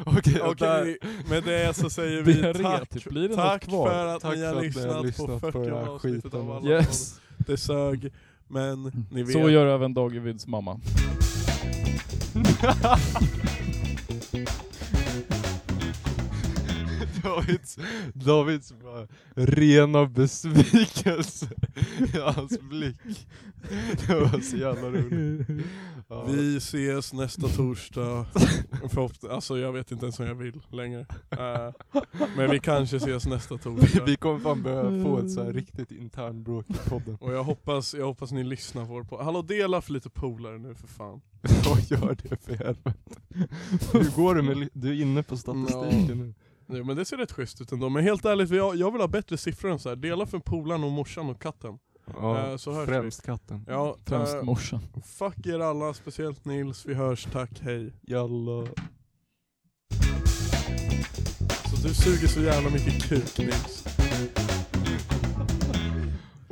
Okej, och där- Okej, med det så säger Det vi är tack, retigt. Blir det något tack kvar? för att Tack ni har för att ni har lyssnat, lyssnat på på 40 den här avsnitt skiten. av alla Yes! podd. Det sög, men ni vet. Så gör även Dagervids mamma. Davids, Davids bara rena besvikelse i hans blick. Det var så jävla roligt. Ja. Vi ses nästa torsdag. Förhopp- alltså jag vet inte ens om jag vill längre. Eh, men vi kanske ses nästa Vi, torsdag. vi kommer fan behöva få ett så här riktigt intern bråk i podden. Och jag hoppas, jag hoppas ni lyssnar på vår podd. Hallå dela för lite polare nu för fan. Vad gör det för helvete? Hur går det med, li- du är inne på statistiken nu. Ja, men det ser rätt schysst ut ändå. Men helt ärligt, jag, jag vill ha bättre siffror än så här. Dela för polaren och morsan och katten. Eh, så hörs vi. främst katten. Ja, Främst eh, morsan. fuck er alla, speciellt Nils. Vi hörs, tack, hej. Jalla. Så du suger så jävla mycket kuk Nils.